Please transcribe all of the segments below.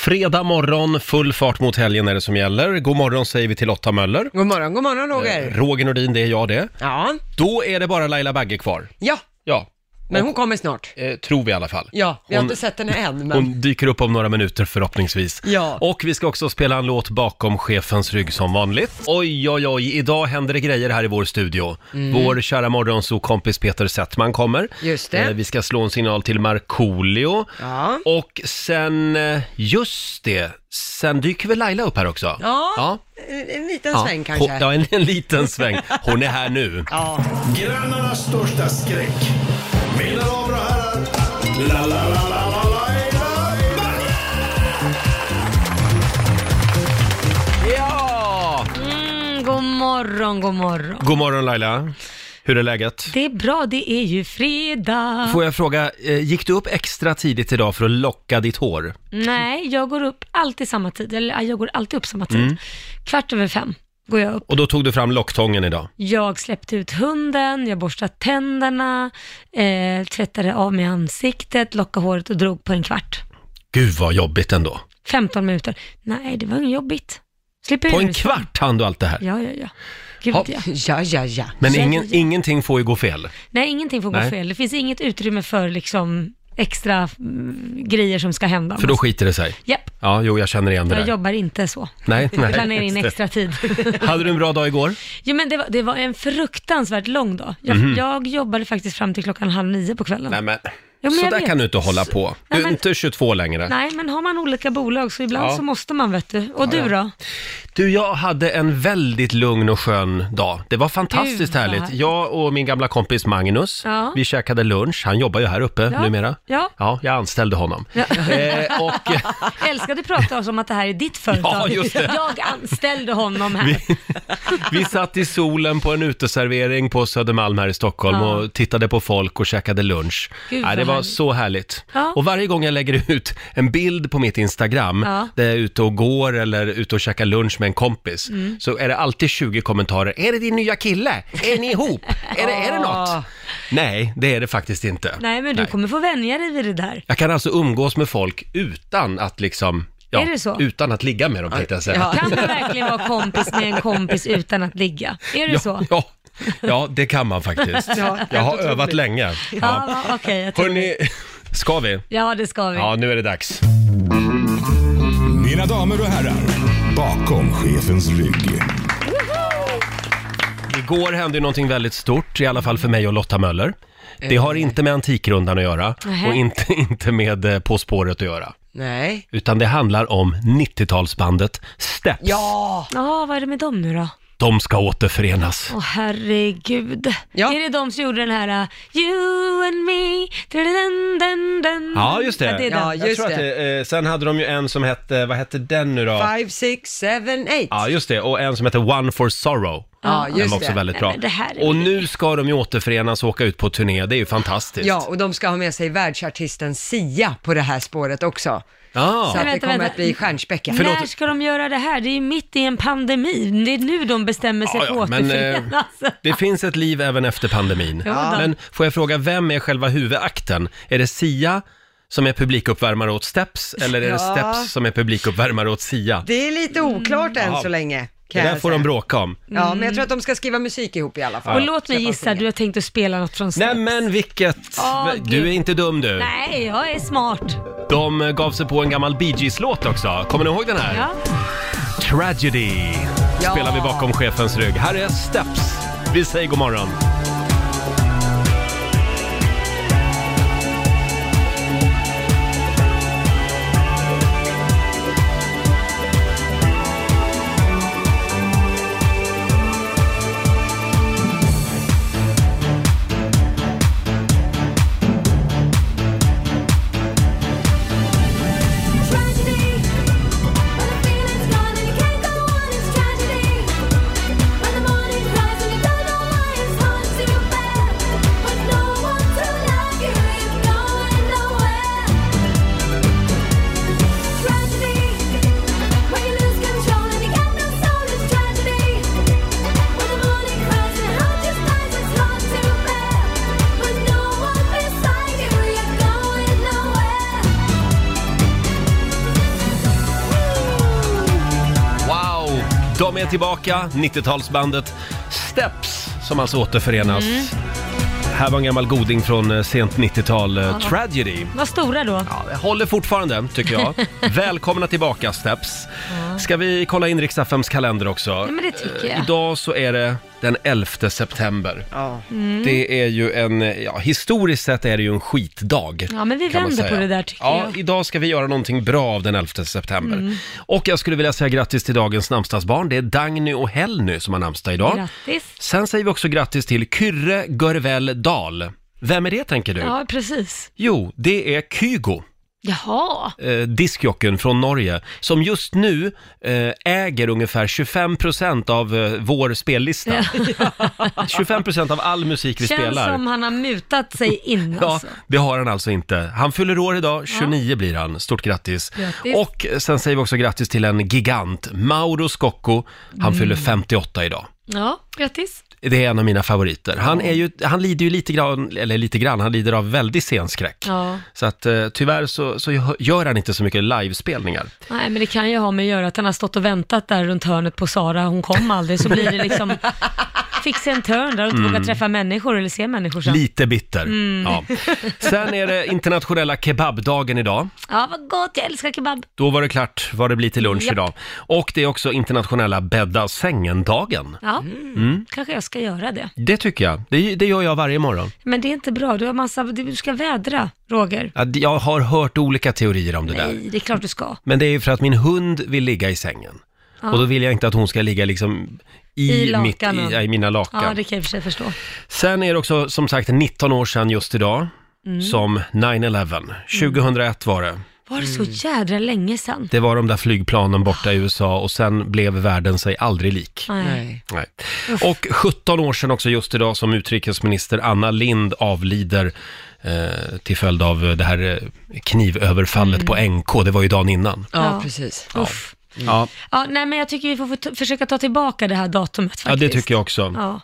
Fredag morgon, full fart mot helgen är det som gäller. God morgon säger vi till Lotta Möller. Eh, God morgon, god morgon Roger. Roger Nordin, det är jag det. Ja, Då är det bara Laila Bagge kvar. ja, Ja, men hon kommer snart. eh, tror vi i alla fall. Ja, vi har Hon- inte sett henne än, men Hon dyker upp om några minuter förhoppningsvis. Ja. Och vi ska också spela en låt bakom chefens rygg som vanligt. Oj, oj, oj, idag händer det grejer här i vår studio. Mm. Vår kära morgonsokompis Peter Settman kommer. Just det. Eh, Vi ska slå en signal till Markoolio. ja. Och sen, eh, just det, sen dyker väl Laila upp här också? Ja, En, en liten Ja. sväng Hon- kanske. Ja, en, en liten sväng. Hon är här nu. Ja. Grannarnas största skräck. Mina damer och herrar. La, la, la, la, la, la, la, la. Ja! Mm, god morgon, god morgon. God morgon Laila. Hur är läget? Det är bra, det är ju fredag. Får jag fråga, eh, gick du upp extra tidigt idag för att locka ditt hår? Nej, jag går upp alltid samma tid. Eller ja, jag går alltid upp samma tid. Kvart över fem går jag upp. Mm. Och då tog du fram locktången idag. Jag släppte ut hunden, jag borstade tänderna, eh, tvättade av mig ansiktet, lockade håret och drog på en kvart. Gud vad jobbigt ändå. 15 minuter. Nej, det var inget jobbigt. Slipper På jag en ur- kvart hann du allt det här. Ja, ja, ja. Gud, Ja. ja. ja, ja, ja. Men Ja, ingen, ja, ja. ingenting får ju gå fel. Nej, ingenting får gå Nej. fel. Det finns inget utrymme för liksom extra mm, grejer som ska hända. För då skiter det sig. Japp, Ja, jo, jag känner igen det jag där. jobbar inte så. Nej, nej. planerar in extra tid. Hade du en bra dag igår? jo, men det, var, det var en fruktansvärt lång dag. Jag, jag jobbade faktiskt fram till klockan halv nio på kvällen. Mhm. Nej, Nej, men. men så jag där vet. kan du inte hålla på. Du är Nej, men- inte 22 längre. men har man olika bolag så ibland Ja. så måste man vet du. Och du då? Du, jag hade en väldigt lugn och skön dag. Det var fantastiskt Gud, vad härligt. härligt. Jag och min gamla kompis Magnus, Ja. vi käkade lunch. Han jobbar ju här uppe Ja. numera. Ja. ja, jag anställde honom. Eh, och eh, Älskar du prata om att det här är ditt företag. Ja, just det. Jag anställde honom här. vi satt i solen på en uteservering på Södermalm här i Stockholm Ja. och tittade på folk och käkade lunch. Gud, ja, det vad var härligt. så härligt. Ja. Och varje gång jag lägger ut en bild på mitt Instagram Ja. där jag är ute och går eller ute och käkar lunch med en kompis Mm. så är det alltid 20 kommentarer. Är det din nya kille? Är ni ihop? är, det, är det något? Nej, det är det faktiskt inte. Nej, men du kommer få vänja dig vid det där. Jag kan alltså umgås med folk utan att liksom Ja, Är det så? Utan att ligga med dem tänkte jag säga. Ja. Kan man verkligen vara kompis med en kompis utan att ligga? Är det så? Ja, ja, det kan man faktiskt. jag har övat länge. Ja. Ja, okej. jag tycker- Hörni, ska vi? ja, det ska vi. Ja, nu är det dags. Mina damer och herrar. Bakom chefens rygg. Igår hände ju någonting väldigt stort, i alla fall för mig och Lotta Möller. Det har inte med Antikrundan att göra Eh. Nähä. och inte, inte med eh, På spåret att göra. Nej. Utan det handlar om 90-talsbandet Steps. Ja, Ja, vad är det med dem nu då? De ska återförenas. Åh herregud. Ja. Är det de som gjorde den här uh, You and me, dun, dun, dun. Ja, just det. Mm. Ja, det är Ja, den. Jag just tror att det. det, eh, sen hade de ju en som hette, vad hette den nu då? Five, six, seven, eight. Ja, just det. Och en som hette One for Sorrow. Ja, Den just var också det. väldigt Nej, bra. men det här är och väl- nu ska de ju återförenas och åka ut på turné, det är ju fantastiskt. Ja, och de ska ha med sig världsartisten Sia på det här spåret också. Ah. Så att det vänta, kommer vänta. att bli stjärnspäckat. Förlåt. När ska de göra det här? Det är ju mitt i en pandemi. Det är nu de bestämmer sig Ja, för ja, att men eh, återförenas. det finns ett liv även efter pandemin. Jo då. Men får jag fråga, vem är själva huvudakten? Är det Sia som är publikuppvärmare åt Steps eller är det Ja. Steps som är publikuppvärmare åt Sia? Det, Det är lite oklart än Ja. så länge. Kan där jag får säga. de bråka om. Ja, men jag tror att de ska skriva musik ihop i alla fall. Och låt mig Släppa en gissa, singel. du har tänkt att spela något från Nej Steps. men vilket! Åh, du Gud. är inte dum du. Nej, jag är smart. De eh, gav sig på en gammal Bee Gees-låt också. Kommer ni ihåg den här? Ja. Tragedy Ja. spelar vi bakom chefens rygg. Här är Steps. Vi säger god morgon. De är tillbaka, 90-talsbandet Steps, som alltså återförenas. Mm. Här var en gammal goding från eh, sent 90-tal, eh, Tragedy. Vad stora då. Ja, jag håller fortfarande, tycker jag. Välkomna tillbaka, Steps. Ska vi kolla in riks kalender också? Ja, men det tycker jag. Idag så är det den 11 september. Ja. Mm. Det är ju en, ja, historiskt sett är det ju en skitdag. Ja, men vi kan man vänder på säga. det där, tycker ja, jag. Mm. Idag ska vi göra någonting bra av den 11 september. Och jag skulle vilja säga grattis till dagens namnsdagsbarn. Det är Dagny och Helny som har namnsdag idag. Grattis. Sen säger vi också grattis till Kyrre Görvell Dahl. Vem är det tänker du? Ja, precis. Jo, det är Kygo, Jaha. eh, diskjocken från Norge, som just nu eh, äger ungefär 25% av eh, vår spellista. 25% av all musik vi Känns spelar. som han har mutat sig in Ja, alltså. det har han alltså inte. Han fyller år idag, 29 blir han. Stort grattis. Grattis. Och eh, sen säger vi också grattis till en gigant, Mauro Scocco. Han Mm. fyller 58 idag. Ja, grattis. Det är en av mina favoriter. Han, är ju, han lider ju lite grann, eller lite grann, han lider av väldig scenskräck. Ja. Så att eh, tyvärr så, så gör han inte så mycket livespelningar. Nej, men det kan ju ha med att göra att han har stått och väntat där runt hörnet på Sara. Hon kom aldrig, så blir det liksom fixa en törn där och inte våga träffa människor eller se människor sen. Mm. Lite bitter. Mm. Ja. Sen är det internationella kebabdagen idag. Ja, vad gott, jag älskar kebab. Då var det klart vad det blir till lunch Japp. idag. Och det är också internationella bädda sängen-dagen. Mm. Ja, kanske jag ska göra det. Det tycker jag. Det, det gör jag varje morgon. Men det är inte bra, du har massa, du ska vädra, Roger. Ja, det- Jag har hört olika teorier om det där. Nej, det är klart du ska. Men det är ju för att min hund vill ligga i sängen. Och då vill jag inte att hon ska ligga liksom i, I lakanen. mitt, i, ja, i mina lakan. Ja, det kan jag i och för sig förstå. Sen är det också som sagt 19 år sedan just idag Mm. som 9-11. 2001 var det. Var det så Mm. jädra länge sedan? Det var de där flygplanen borta i USA och sen blev världen sig aldrig lik. Nej. Nej. Nej. Och 17 år sedan också just idag som utrikesminister Anna Lind avlider eh, till följd av det här eh, knivöverfallet på NK. Det var ju dagen innan. Mm. Ja, Ja. precis. Uff. Ja, Ja, nej, men jag tycker vi får få t- försöka ta tillbaka det här datumet faktiskt. ja det tycker jag också. Ja.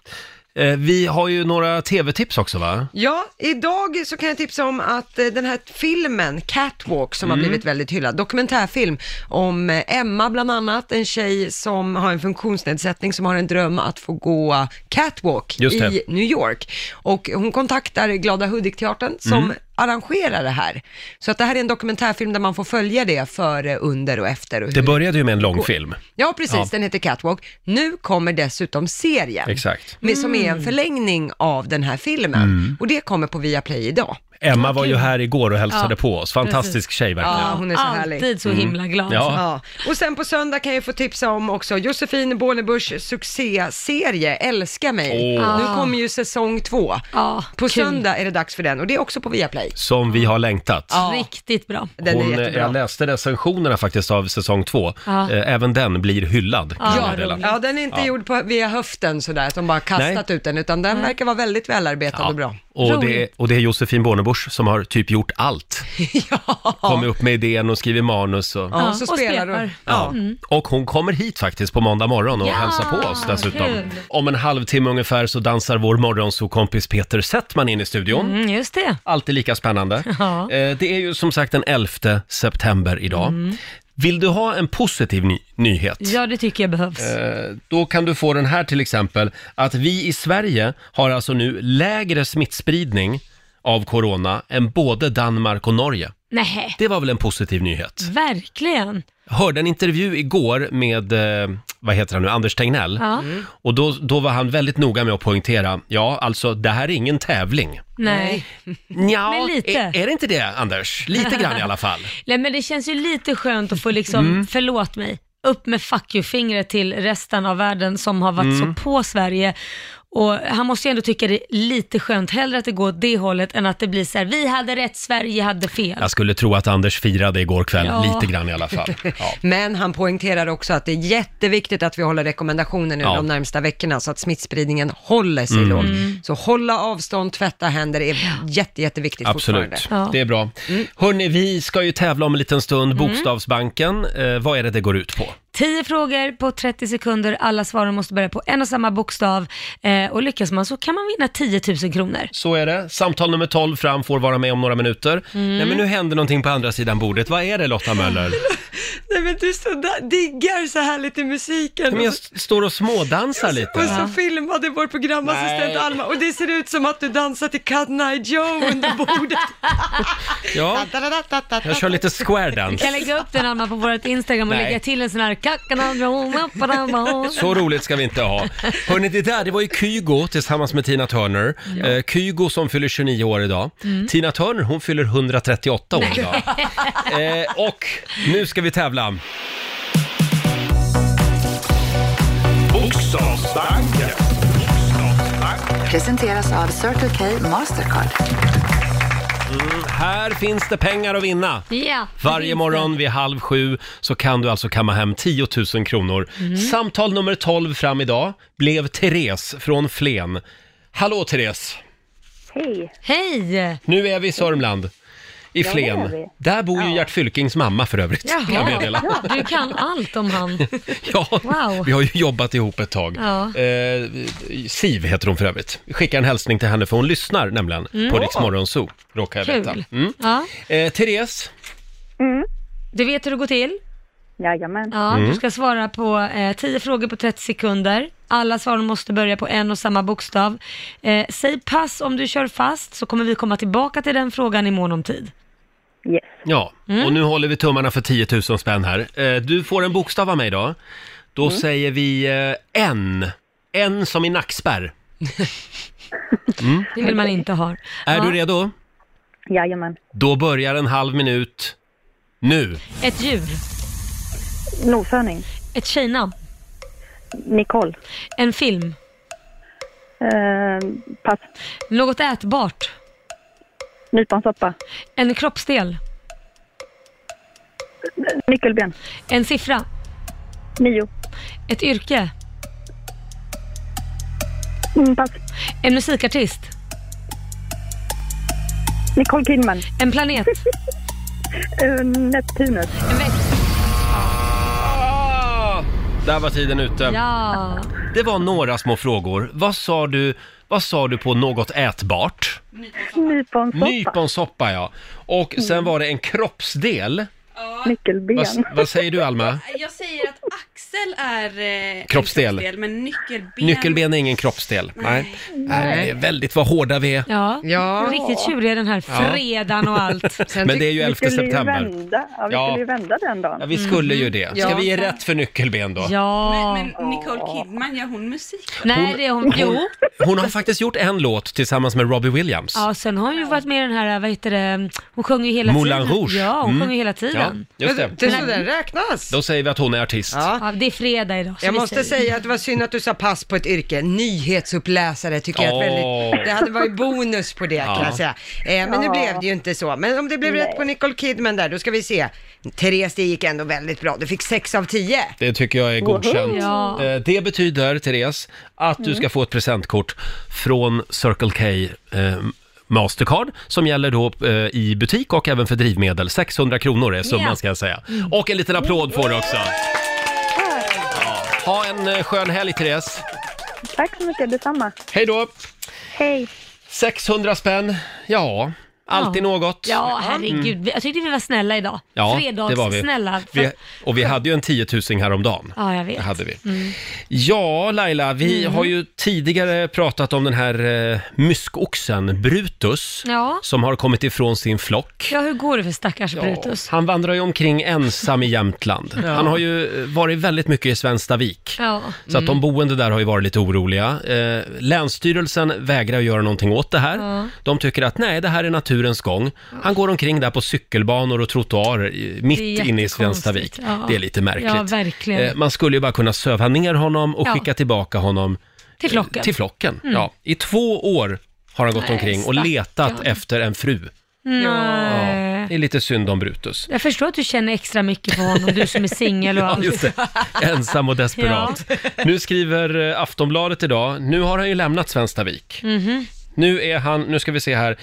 Eh, vi har ju några tv-tips också va? Ja, idag så kan jag tipsa om att eh, den här filmen Catwalk som Mm. har blivit väldigt hyllad, dokumentärfilm om eh, Emma bland annat, en tjej som har en funktionsnedsättning som har en dröm att få gå catwalk Just det. i New York. Och hon kontaktar Glada Hudik-teatern som Mm. arrangerar det här. Så att det här är en dokumentärfilm där man får följa det före, under och efter. Och Det hur- började ju med en långfilm. Ja, precis. Ja. Den heter Catwalk. Nu kommer dessutom serien. Exakt. Med, som är Mm. en förlängning av den här filmen. Mm. Och det kommer på Viaplay idag. Emma var ju här igår och hälsade Ja, på oss. Fantastisk precis. tjej verkligen. Mm. Ja, hon är så Alltid härlig. så himla glad. Ja. Ja. Och sen på söndag kan jag få tipsa om också Josefin Bornebuschs succéserie Älska mig. Åh. Nu kommer ju säsong två. Ja, på kul. söndag är det dags för den och det är också på Viaplay. Som vi har längtat. Riktigt bra. Den Hon, är eh, jag jättebra. läste recensionerna faktiskt av säsong två. Ja. Eh, Även den blir hyllad. kan Ja, jag meddela. roligt. Ja, den är inte gjord på, via höften sådär, att de bara kastat ut den, utan den verkar vara väldigt välarbetad och bra. Och det, är, Roligt. och det är Josefin Bornebusch som har typ gjort allt. Kommit upp med idén och skrivit manus. Och, Ja, Ja, så och Mm. spelar spelar. de. Ja. och hon kommer hit faktiskt på måndag morgon och Ja, hälsar på oss dessutom. kul. Om en halvtimme ungefär så dansar vår morgonsokompis Peter Settman in i studion. Mm, just det. Alltid lika spännande. Ja. Eh, Det är ju som sagt den 11 september idag. Mm. Vill du ha en positiv ny- nyhet? Ja, det tycker jag behövs. Eh, Då kan du få den här till exempel, att vi i Sverige har alltså nu lägre smittspridning av corona än både Danmark och Norge. Nej, Det var väl en positiv nyhet? verkligen. hörde en intervju igår med, eh, vad heter han nu, Anders Tegnell. Ja. Och då, då var han väldigt noga med att poängtera, ja alltså det här är ingen tävling. Nej. Ja, Men lite. Är, är det inte det Anders? Lite grann i alla fall. Nej, men det känns ju lite skönt att få liksom, Mm. förlåt mig, upp med fuck you-fingret till resten av världen som har varit Mm. så på Sverige. Och han måste ju ändå tycka det är lite skönt, hellre att det går åt det hållet än att det blir så här, vi hade rätt, Sverige hade fel. Jag skulle tro att Anders firade igår kväll, Ja. lite grann i alla fall. Ja. Men han poängterar också att det är jätteviktigt att vi håller rekommendationer nu Ja. Mm. de närmsta veckorna så att smittspridningen håller sig låg. Så hålla avstånd, tvätta händer är jätte, jätteviktigt fortfarande. Absolut, Ja. det är bra. Hörni, vi ska ju tävla om en liten stund, Bokstavsbanken. Eh, vad är det det går ut på? 10 frågor på 30 sekunder, alla svaren måste börja på en och samma bokstav eh, och lyckas man så kan man vinna 10 000 kronor. Så är det. Samtal nummer 12 fram får vara med om några minuter. Nej, men nu händer någonting på andra sidan bordet. Vad är det Lotta Möller? Nej men du så där, diggar så härligt i musiken. Men jag Och st- står och smådansar så- och lite. så filmade vår programassistent Nej. Alma och det ser ut som att du dansar till Cut Night Joe under bordet. Ja, jag kör lite square Vi kan dance. lägga upp den Alma på vårt Instagram och Nej. lägga till en sån här kakanadroma. Så roligt ska vi inte ha. Hörrni, det där, det var ju Kygo tillsammans med Tina Turner. Eh, Kygo som fyller 29 år idag. Tina Turner, hon fyller 138 år idag. Eh, och nu ska vi tävla. Bokstavsbanken. Presenteras av Circle K Mastercard. Mm, Här finns det pengar att vinna. Ja, det Varje finns morgon vid halv sju så kan du alltså kamma hem 10 000 kronor. Samtal nummer 12 fram idag blev Therese från Flen. Hallå Therese! Hej. det. Hej! Nu är vi i Sörmland, i är Flen. vi. Där bor ju Gert Fylkings mamma för övrigt, kan jag meddela. du kan allt om han. Ja, Wow. vi har ju jobbat ihop ett tag. Ja. Eh, Siv heter hon för övrigt. Vi skickar en hälsning till henne för hon lyssnar nämligen på Rix Morgonzoo, råkar jag veta. Kul. Mm. Ja, Eh, Therese, du vet hur det går till. Mm. Jajamän. Ja, Mm. Du ska svara på eh, 10 frågor på 30 sekunder. Alla svaren måste börja på en och samma bokstav. Eh, säg pass om du kör fast så kommer vi komma tillbaka till den frågan i mån om tid. Yes. Ja, och nu håller vi tummarna för 10 000 spänn här. Eh, Du får en bokstav av mig då. Då säger vi eh, N. N som i nackspärr. Mm. Det vill man inte ha. Är Ja. du redo? Jajamän. Då börjar en halv minut nu. Ett djur, Noshörning. ett tjejnamn, Nicole. en film, Eh, pass. något ätbart, Nyponsoppa. en kroppsdel, Nyckelben. en siffra, Nio. ett yrke, Mm, pass. en musikartist, Nicole Kidman. en planet, Eh, Neptunus. en växt. Ah, där var tiden ute. Ja. Det var några små frågor. Vad sa du, vad sa du på något ätbart? Nyponsoppa. Nyponsoppa ja. Och sen var det en kroppsdel. Nyckelben. Vad, vad säger du Alma? Jag säger att axel är eh, en Kroppsdel. men nyckelben... Nyckelben är ingen kroppsdel. Nej. Nej, det är väldigt vad hårda vi är. Ja. Ja. riktigt tjurig den här fredagen och allt. Sen Men tyck- det är ju 11 Vi skulle ju september. vända. Ja, vi Ja. skulle ju vända den dagen. Ja, vi skulle ju det. Ska Ja. vi ge rätt för nyckelben då? Mm. Ja. Men, men Nicole Kidman, gör hon musik? Nej, det är hon. Jo. Hon har faktiskt gjort en låt tillsammans med Robbie Williams. Ja, sen har hon ju varit med i den här, vad heter det, hon sjunger ju hela Moulin tiden. Rouge. Ja, hon Mm. sjunger ju hela Ja, tiden. just det, det. det är så den räknas. Då säger vi att hon är artist. Ja. Ja, det är fredag idag. så Jag vi måste säger- säga att det var synd att du sa pass på ett yrke. Nyhetsuppläsare tycker jag är ett Åh. väldigt... Det hade varit bonus på det kan jag säga. Eh, men nu blev det ju inte så. Men om det blev rätt på Nicole Kidman där, då ska vi se. Therese, det gick ändå väldigt bra. Du fick 6 av 10. Det tycker jag är godkänt. Ja. Mm. Eh, Det betyder, Therese, att du ska få ett presentkort från Circle K eh, Mastercard som gäller då eh, i butik och även för drivmedel. 600 kronor är summan Ja. Mm. ska jag säga. Och en liten applåd får du också. Ja. Ha en eh, skön helg Therese. Tack så mycket. Detsamma. Hej då! Hej. 600 spänn, ja, alltid Ja. något. Mm. Ja, herregud. Vi- Jag tyckte vi var snälla idag. Ja, det var vi. Fredagssnälla. För- Vi, och vi hade ju en 10 000 häromdagen. Ja, jag vet. Mm. Det hade vi. Ja, Laila, vi har ju tidigare pratat om den här eh, myskoxen Brutus Ja. som har kommit ifrån sin flock. Ja, hur går det för stackars Brutus? Han vandrar ju omkring ensam i Jämtland. Han har ju eh, varit väldigt mycket i Svenstavik. Ja. Så att de boende där har ju varit lite oroliga. Eh, länsstyrelsen vägrar göra någonting åt det här. De tycker att nej, det här är naturens gång. Han går omkring där på cykelbanor och trottoarer i- mitt inne i jättekonstigt. Svenstavik. Ja. Det är lite märkligt. Ja, verkligen. Eh, man skulle ju bara kunna söva ner honom och Ja. skicka tillbaka honom eh, Till flocken. Mm. till flocken. Ja. I två år har han gått Nej, omkring och letat efter en fru. Nej. Det är lite synd om Brutus. Jag förstår att du känner extra mycket för honom, du som är singel och Ja, allt. just det. Ensam och desperat. Nu skriver eh, Mhm. Aftonbladet idag, nu har han ju lämnat Svenstavik. Nu är han, nu ska vi se här,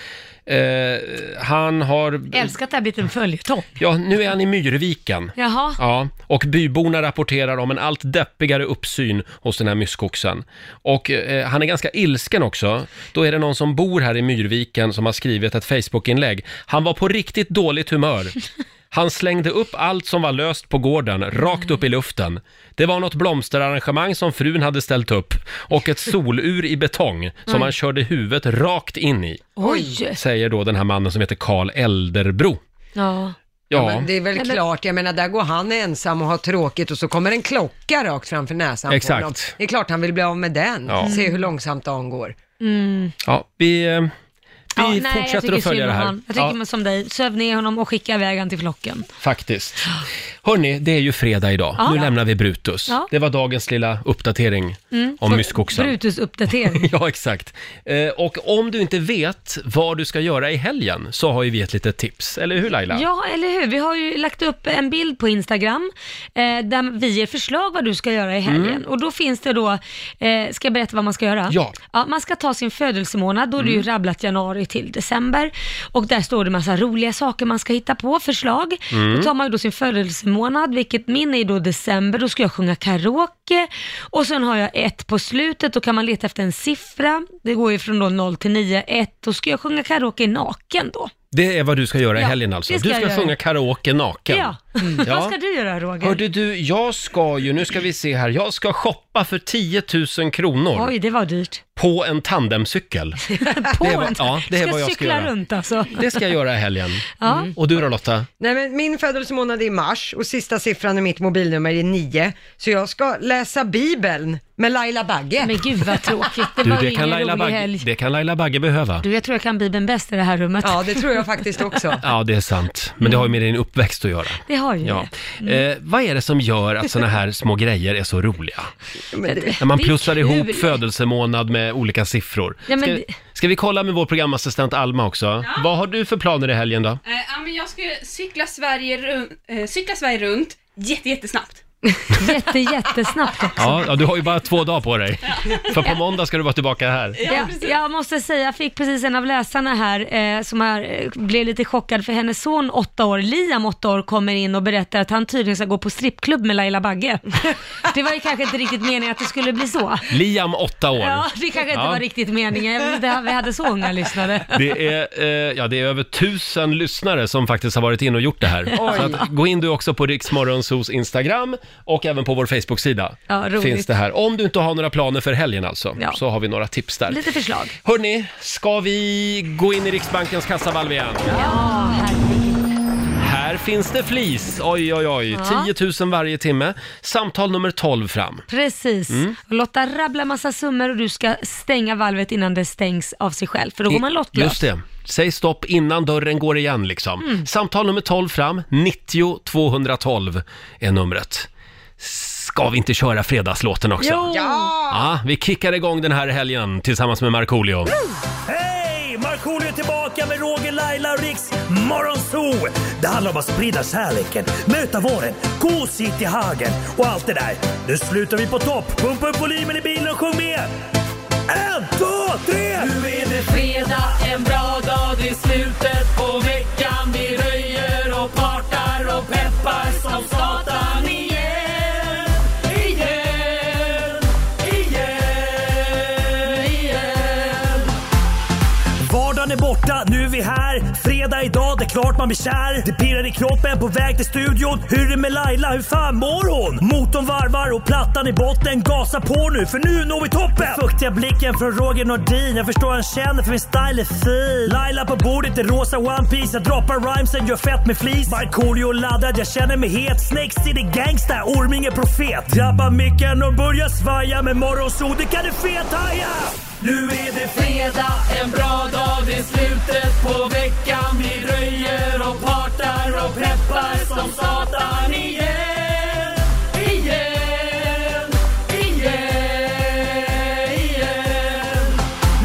Eh, han har... Älskat det här biten följetong. Ja, nu är han i Myrviken. Jaha. Ja, och byborna rapporterar om en allt deppigare uppsyn hos den här myskoxen. Och eh, han är ganska ilsken också. Då är det någon som bor här i Myrviken som har skrivit ett Facebook-inlägg. Han var på riktigt dåligt humör. Han slängde upp allt som var löst på gården, rakt upp i luften. Det var något blomsterarrangemang som frun hade ställt upp och ett solur i betong som Mm. han körde huvudet rakt in i, Oj. säger då den här mannen som heter Karl Elderbro. Ja. Ja, men det är väl klart, jag menar där går han ensam och har tråkigt och så kommer en klocka rakt framför näsan Exakt. på honom. Det är klart han vill bli av med den, Ja. se hur långsamt dagen går. Mm. Ja, vi, eh, vi Ja, nej, jag fortsätter tycker att följa synd det om här. han. Jag tycker Ja, man som dig, söv ner honom och skicka iväg honom till flocken. Faktiskt. Hörni, det är ju fredag idag. Ja. Nu lämnar vi Brutus. Ja. Det var dagens lilla uppdatering Mm. om myskoxen. Brutus-uppdatering. Ja, exakt. Eh, och om du inte vet vad du ska göra i helgen så har ju vi ett litet tips. Eller hur Laila? Ja, eller hur? Vi har ju lagt upp en bild på Instagram eh, där vi ger förslag vad du ska göra i helgen. Och då finns det då, eh, ska jag berätta vad man ska göra? Mm. Ja. Mm. man ska ta sin födelsemånad, då är det ju rabblat januari till december. Och där står det massa roliga saker man ska hitta på, förslag. Mm. Då tar man ju då sin födelsemånad, vilket min är då december, då ska jag sjunga karaoke. Och sen har jag ett på slutet, då kan man leta efter en siffra. Det går ju från då 0 till 9, 1. Då ska jag sjunga karaoke naken då. Det är vad du ska göra i Ja, helgen alltså. det ska du jag ska göra. sjunga karaoke naken. Ja. Vad ska du göra Roger? Hörde Mm. du, jag ska ju, nu ska vi se här, jag ska shoppa för 10 000 kronor Oj, det var dyrt. på en tandemcykel. På Det var- en- ja, det ska var jag ska cykla göra. runt alltså. Det ska jag göra i helgen. Mm. Ja. Och du då Lotta? Nej men min födelsemånad är i mars och sista siffran i mitt mobilnummer är nio, så jag ska läsa Bibeln med Laila Bagge. Men gud vad tråkigt. Det Du, var ju det, kan ingen Laila rolig Bagge, helg. det kan Laila Bagge behöva. Du, jag tror jag kan Bibeln bäst i det här rummet. Ja, det tror jag faktiskt också. Ja, det är sant. Men det har ju med din uppväxt att göra. Det har ju Ja. det. Mm. Eh, vad är det som gör att såna här små grejer är så roliga? Men det, När man Det är plussar ihop kul. födelsemånad med olika siffror. Ja, men Ska, det- ska vi kolla med vår programassistent Alma också? Vad har du för planer i helgen då? Eh, ja, men jag ska ju cykla Sverige, run- eh, cykla Sverige runt jätte, jättesnabbt. Jätte, jättesnabbt också. Ja, ja, du har ju bara två dagar på dig. För på måndag ska du vara tillbaka här. Ja, Jag, precis. jag måste säga, jag fick precis en av läsarna här eh, som är, eh, blev lite chockad för hennes son åtta år, Liam åtta år, kommer in och berättar att han tydligen ska gå på strippklubb med Laila Bagge. Det var ju kanske inte riktigt meningen att det skulle bli så. Liam, åtta år. Ja, det kanske inte Ja. var riktigt meningen. Jag vet inte om vi hade så unga lyssnare. Det är, eh, ja, det är över tusen lyssnare som faktiskt har varit in och gjort det här. Så att, gå in du också på Riksmorgonsos Instagram och även på vår Facebook-sida. Ja, roligt. finns det här. Om du inte har några planer för helgen alltså, Ja. så har vi några tips där. Lite förslag. Hörni, ska vi gå in i Riksbankens kassavalv igen? Ja, Här finns det flis! Oj, oj, oj. 10 000 varje timme. Samtal nummer 12 fram. Precis. Mm. Och Lotta rabblar massa summor och du ska stänga valvet innan det stängs av sig själv, för då går man lottlös. Just det. Säg stopp innan dörren går igen liksom. Samtal nummer 12 fram, 90 212 är numret. Ska vi inte köra fredagslåten också? Jo! Ja, vi kickar igång den här helgen tillsammans med Markoolio. Hej! Markoolio är tillbaka med Roger, Laila och Riks Morgonzoo! Det handlar om att sprida kärleken, möta våren, gosigt i hagen och allt det där. Nu slutar vi på topp! Pumpa upp volymen i bilen och sjung med! En, två, tre! Nu är det fredag, en bra dag, det är slutet på veckan. Vi röjer och partar och peppar som satan igen. Igen, igen, igen. Vardagen är borta, nu är vi här. Fredag idag, det är klart man blir kär. Det pirrar i kroppen på väg till studion. Hur är det med Laila, hur fan mår hon? Motorn varvar och plattan i botten. Gasa på nu, för nu når vi toppen! Den fuktiga blicken från Roger Nordin. Jag förstår han känner för min style är fin. Laila på bordet i rosa One Piece Jag droppar rhymesen, gör fett med flis. Markoolio laddad, jag känner mig het. Snake City Gangsta, Orminge profet. Drabbar micken och börjar svaja. Med morgonsol, det kan du fethaja! Nu är det fredag, en bra dag, det är slutet på veckan Vi röjer och partar och peppar som satan igen Igen, igen, igen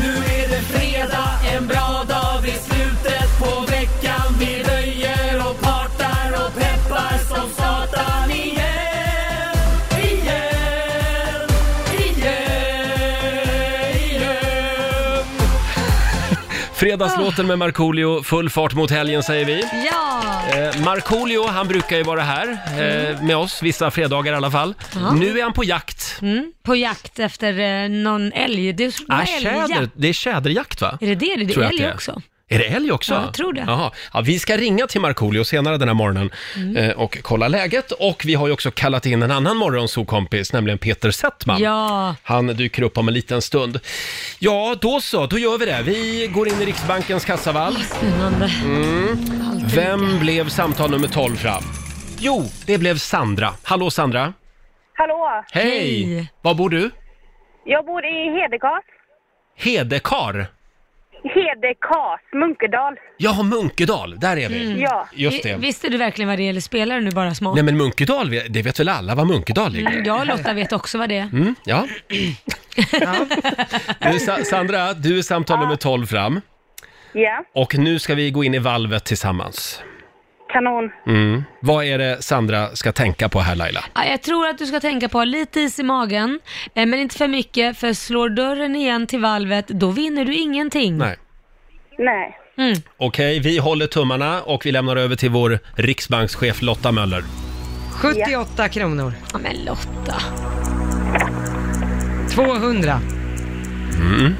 Nu är det fredag, en bra dag, det är slutet på veckan Vi röjer och partar och peppar som satan igen Igen, igen, igen Fredagslåten med Markoolio, full fart mot helgen säger vi. Ja! Eh, Markoolio, han brukar ju vara här eh, med oss vissa fredagar i alla fall. Nu är han på jakt. Mm, på jakt efter eh, någon älg. Det är så- Ah, älgjakt. tjäder, det är tjäderjakt va? Är det det? Det är Tror jag att älg det är. också. Är det älg också? Ja, jag tror det. Jaha. Ja, vi ska ringa till Markoolio senare den här morgonen Mm. eh, och kolla läget. Och vi har ju också kallat in en annan morgonsokompis, nämligen Peter Settman. Ja. Han dyker upp om en liten stund. Ja, då så, då gör vi det. Vi går in i Riksbankens kassavalv. Mm. Spännande. Vem blev samtal nummer 12 fram? Jo, det blev Sandra. Hallå Sandra! Hallå! Hej! Hej. Var bor du? Jag bor i Hedekas. Hedekar? Hedekas, Munkedal. Ja, Munkedal, där är vi. Ja. Just det. Mm. Vi- Visste du verkligen vad det gäller? Spelar du nu bara små? Nej men Munkedal, det vet väl alla var Munkedal ligger? Mm, Jag och Lotta vet också vad det är. Mm, ja. Du, Sa- Sandra, du är samtal nummer 12 fram. Ja, Och nu ska vi gå in i valvet tillsammans. Mm. kanon. Vad är det Sandra ska tänka på här Laila? Ja, Jag tror att du ska tänka på lite is i magen, eh, men inte för mycket, för slår dörren igen till valvet, då vinner du ingenting. Nej. Nej. Mm. Okej, vi håller tummarna och vi lämnar över till vår riksbankschef Lotta Möller. 78 kronor. Ja, men Lotta. 200. Mm.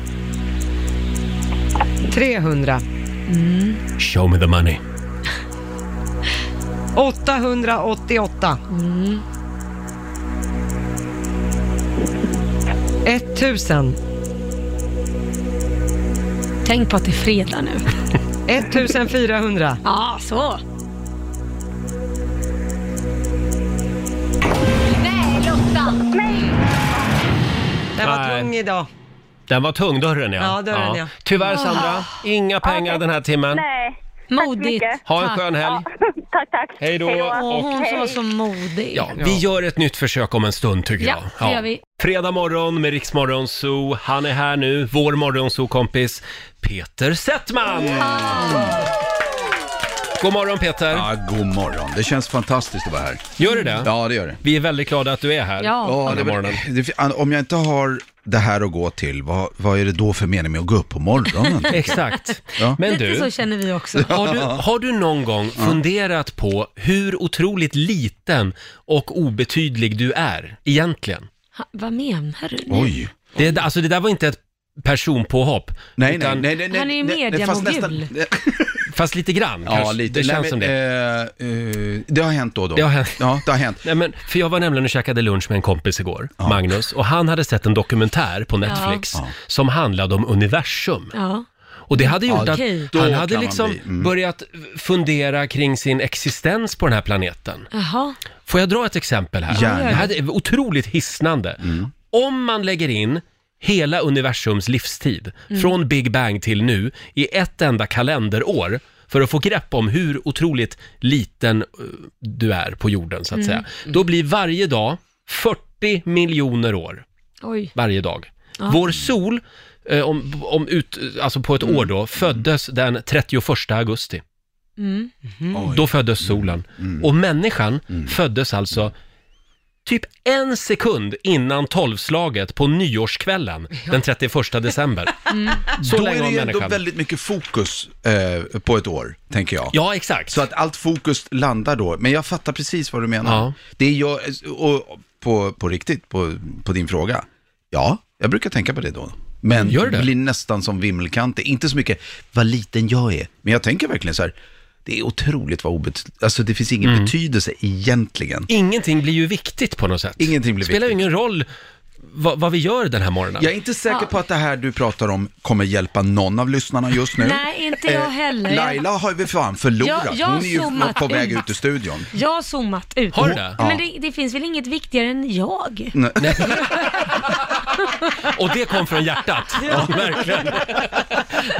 300. Mm. Show me the money. 888. Mm. 1000. Tänk på att det är fredag nu. 1400. Ja, så. Den var Nej. tung idag. Den var tung, dörren ja. Ja, dörren, ja. Ah. Tyvärr Sandra, inga pengar den här timmen. Nej. Modigt. mycket. Ha en Tack. skön helg. tack, tack. Hej då. Åh, hon som var så modig. Ja, vi gör ett nytt försök om en stund tycker Ja, jag. det gör vi. Fredag morgon med Riksmorgon Zoo. Han är här nu, vår morgonzoo-kompis Peter Settman! God morgon Peter! Ja, god morgon. Det känns fantastiskt att vara här. Gör du det? Ja, det gör det. Vi är väldigt glada att du är här. Ja. Ja, den här det, var- morgonen. det, om jag inte har det här att gå till, vad, vad är det då för mening med att gå upp på morgonen? Exakt. Ja. Men Lite så du, känner vi också. har du, har du någon gång funderat på hur otroligt liten och obetydlig du är egentligen? Ha, vad menar du? nu? Oj. Det, alltså det där var inte ett personpåhopp, Nej, nej, Utan- nej, nej, nej. Han är ju nej, nej, fast mediamogul. nästan- fast lite grann Ja, kanske. lite. Det känns nej, som det. men, eh, eh, det har hänt då och då. Det har hänt. Ja, det har hänt. Nej, men, för jag var nämligen och käkade lunch med en kompis igår, Magnus, och han hade sett en dokumentär på Netflix Ja. som handlade om universum. Ja. Och det hade gjort Ja, okej. att han Då hade kan man liksom bli, mm. börjat fundera kring sin existens på den här planeten. Jaha. Får jag dra ett exempel här? Gärna. Det här är otroligt hisnande. Om man lägger in hela universums livstid, från Big Bang till nu, i ett enda kalenderår, för att få grepp om hur otroligt liten eh, du är på jorden, så att säga. Då blir varje dag 40 miljoner år Oj. varje dag. Vår sol, eh, om, om ut, alltså på ett år då, föddes den 31 augusti. Mm. Oj. Då föddes solen. Mm. Och människan föddes alltså typ en sekund innan tolvslaget på nyårskvällen den 31 december. Så Mm. Då länge är var det ju ändå människan. väldigt mycket fokus eh, på ett år, tänker jag. Ja, exakt. Så att allt fokus landar då, men jag fattar precis vad du menar. Ja. Det är jag, och på, på riktigt, på, på din fråga. Ja, jag brukar tänka på det då. Men Gör det? blir nästan som vimmelkanter. Inte så mycket vad liten jag är, men jag tänker verkligen så här, det är otroligt vad obetydligt, alltså det finns ingen betydelse egentligen. Mm. Ingenting blir ju viktigt på något sätt. Ingenting blir Spelar ju viktigt. ingen roll vad, vad vi gör den här morgonen. Jag är inte säker på att det här du pratar om kommer hjälpa någon av lyssnarna just nu. Eh, Nej, inte jag heller. Laila har ju fan förlorat. Jag- jag Hon är ju zoomat på väg ut. ut ur studion. Jag har zoomat ut. Har du det? Men det, det finns väl inget viktigare än jag? Och det kom från hjärtat. Ja, verkligen.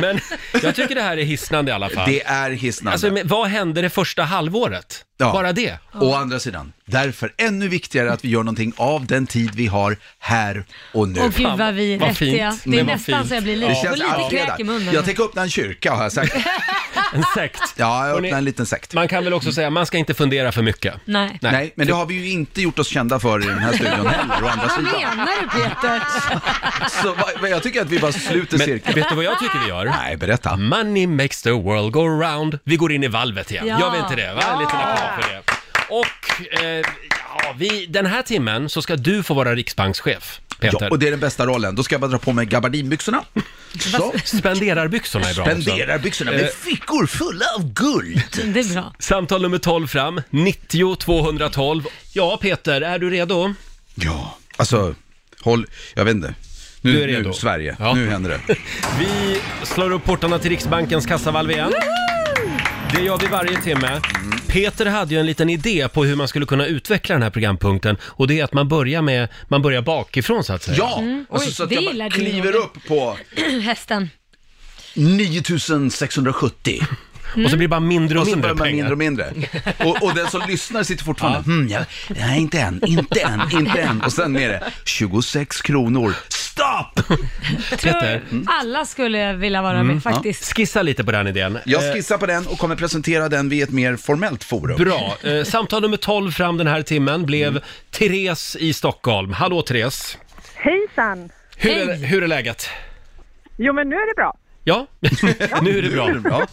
Men jag tycker det här är hisnande i alla fall. Det är hisnande. Alltså, men vad hände det första halvåret? Ja. Bara det? Å andra sidan, därför ännu viktigare att vi gör någonting av den tid vi har här och nu. Åh gud vad vi är vad vettiga. fint. Det är Men vad nästan fint. så jag blir lite, det får känns lite allfredag. kräk i munnen. Jag tänker öppna en kyrka har jag sagt. en sekt. Ja, jag Hörrni, öppnade en liten sekt. Man kan väl också säga, man ska inte fundera för mycket. Nej. Nej. Nej, men det har vi ju inte gjort oss kända för i den här studion heller, å andra Vad sidan. menar du Peter? Så va- va- jag tycker att vi bara sluter Men cirkeln. vet du vad jag tycker vi gör? Nej, berätta. Money makes the world go round. Vi går in i valvet igen. Ja. Gör vi inte det? Va? En liten applåd för det. Och eh, ja, vi, den här timmen så ska du få vara riksbankschef, Peter. Ja, och det är den bästa rollen. Då ska jag bara dra på mig gabardinbyxorna. Så, Spenderarbyxorna är bra också. Eh, spenderar byxorna med fickor fulla av guld. Det är bra. Samtal nummer 12 fram, 90 212. Ja, Peter, är du redo? Ja, alltså, håll, jag vet inte. Nu, Du är redo. nu Sverige, Ja. nu händer det. Vi slår upp portarna till Riksbankens kassavalv igen. Det gör vi varje timme. Peter hade ju en liten idé på hur man skulle kunna utveckla den här programpunkten och det är att man börjar med, man börjar bakifrån så att säga. Ja, alltså, Mm. Oj, så att det jag gillar bara du, kliver Roger. upp på Hästen. 9670 Och så blir det bara mindre och och så mindre börjar pengar. man mindre och mindre. Och, och den som lyssnar sitter fortfarande, hmm, jag, nej inte än, inte än, inte än. Och sen är det 26 kronor, stopp! Peter, Mm. Alla skulle jag vilja vara med faktiskt. Mm. skissa lite på den idén. Eh, Jag skissar på den och kommer presentera den vid ett mer formellt forum. Bra. Eh, samtal nummer 12 fram den här timmen blev Mm. Therese i Stockholm. Hallå Therese! Hejsan! Hur, är, hur är läget? Jo, men nu är det bra. Ja, nu är det bra. Ja,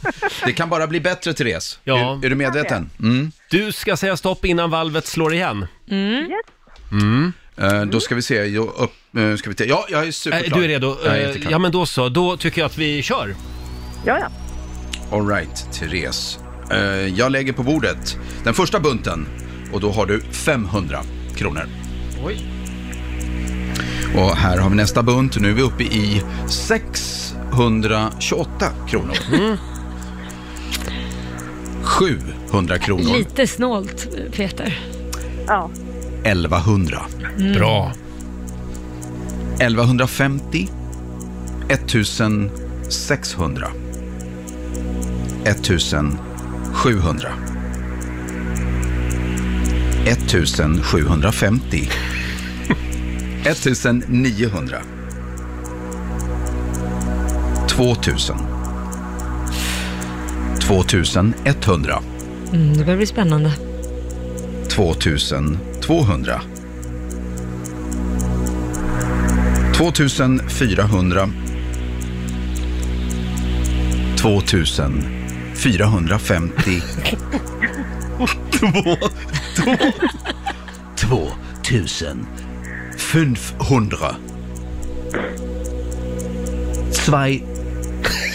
det kan bara bli bättre, Therese. Ja. Är, är du medveten? Mm. Du ska säga stopp innan valvet slår igen. Mm. Eh, då ska vi se, jag, upp, eh, ska vi se. ja, jag är Mm. Eh, superklar. du är redo? Jag är Eh, jätteklar. ja, men då så. Då tycker jag att vi kör. Ja, ja. All right, Therese. Eh, jag lägger på bordet den första bunten och då har du 500 kronor. Oj. Och här har vi nästa bunt. Nu är vi uppe i 628 kronor. 700 kronor. Lite snålt Peter. ja. 1100. Bra. 1150. 1600. 1700. 1750. 1900. 2000. 2100. Mm, det börjar bli spännande. 2200. 2400. 2450. 2500.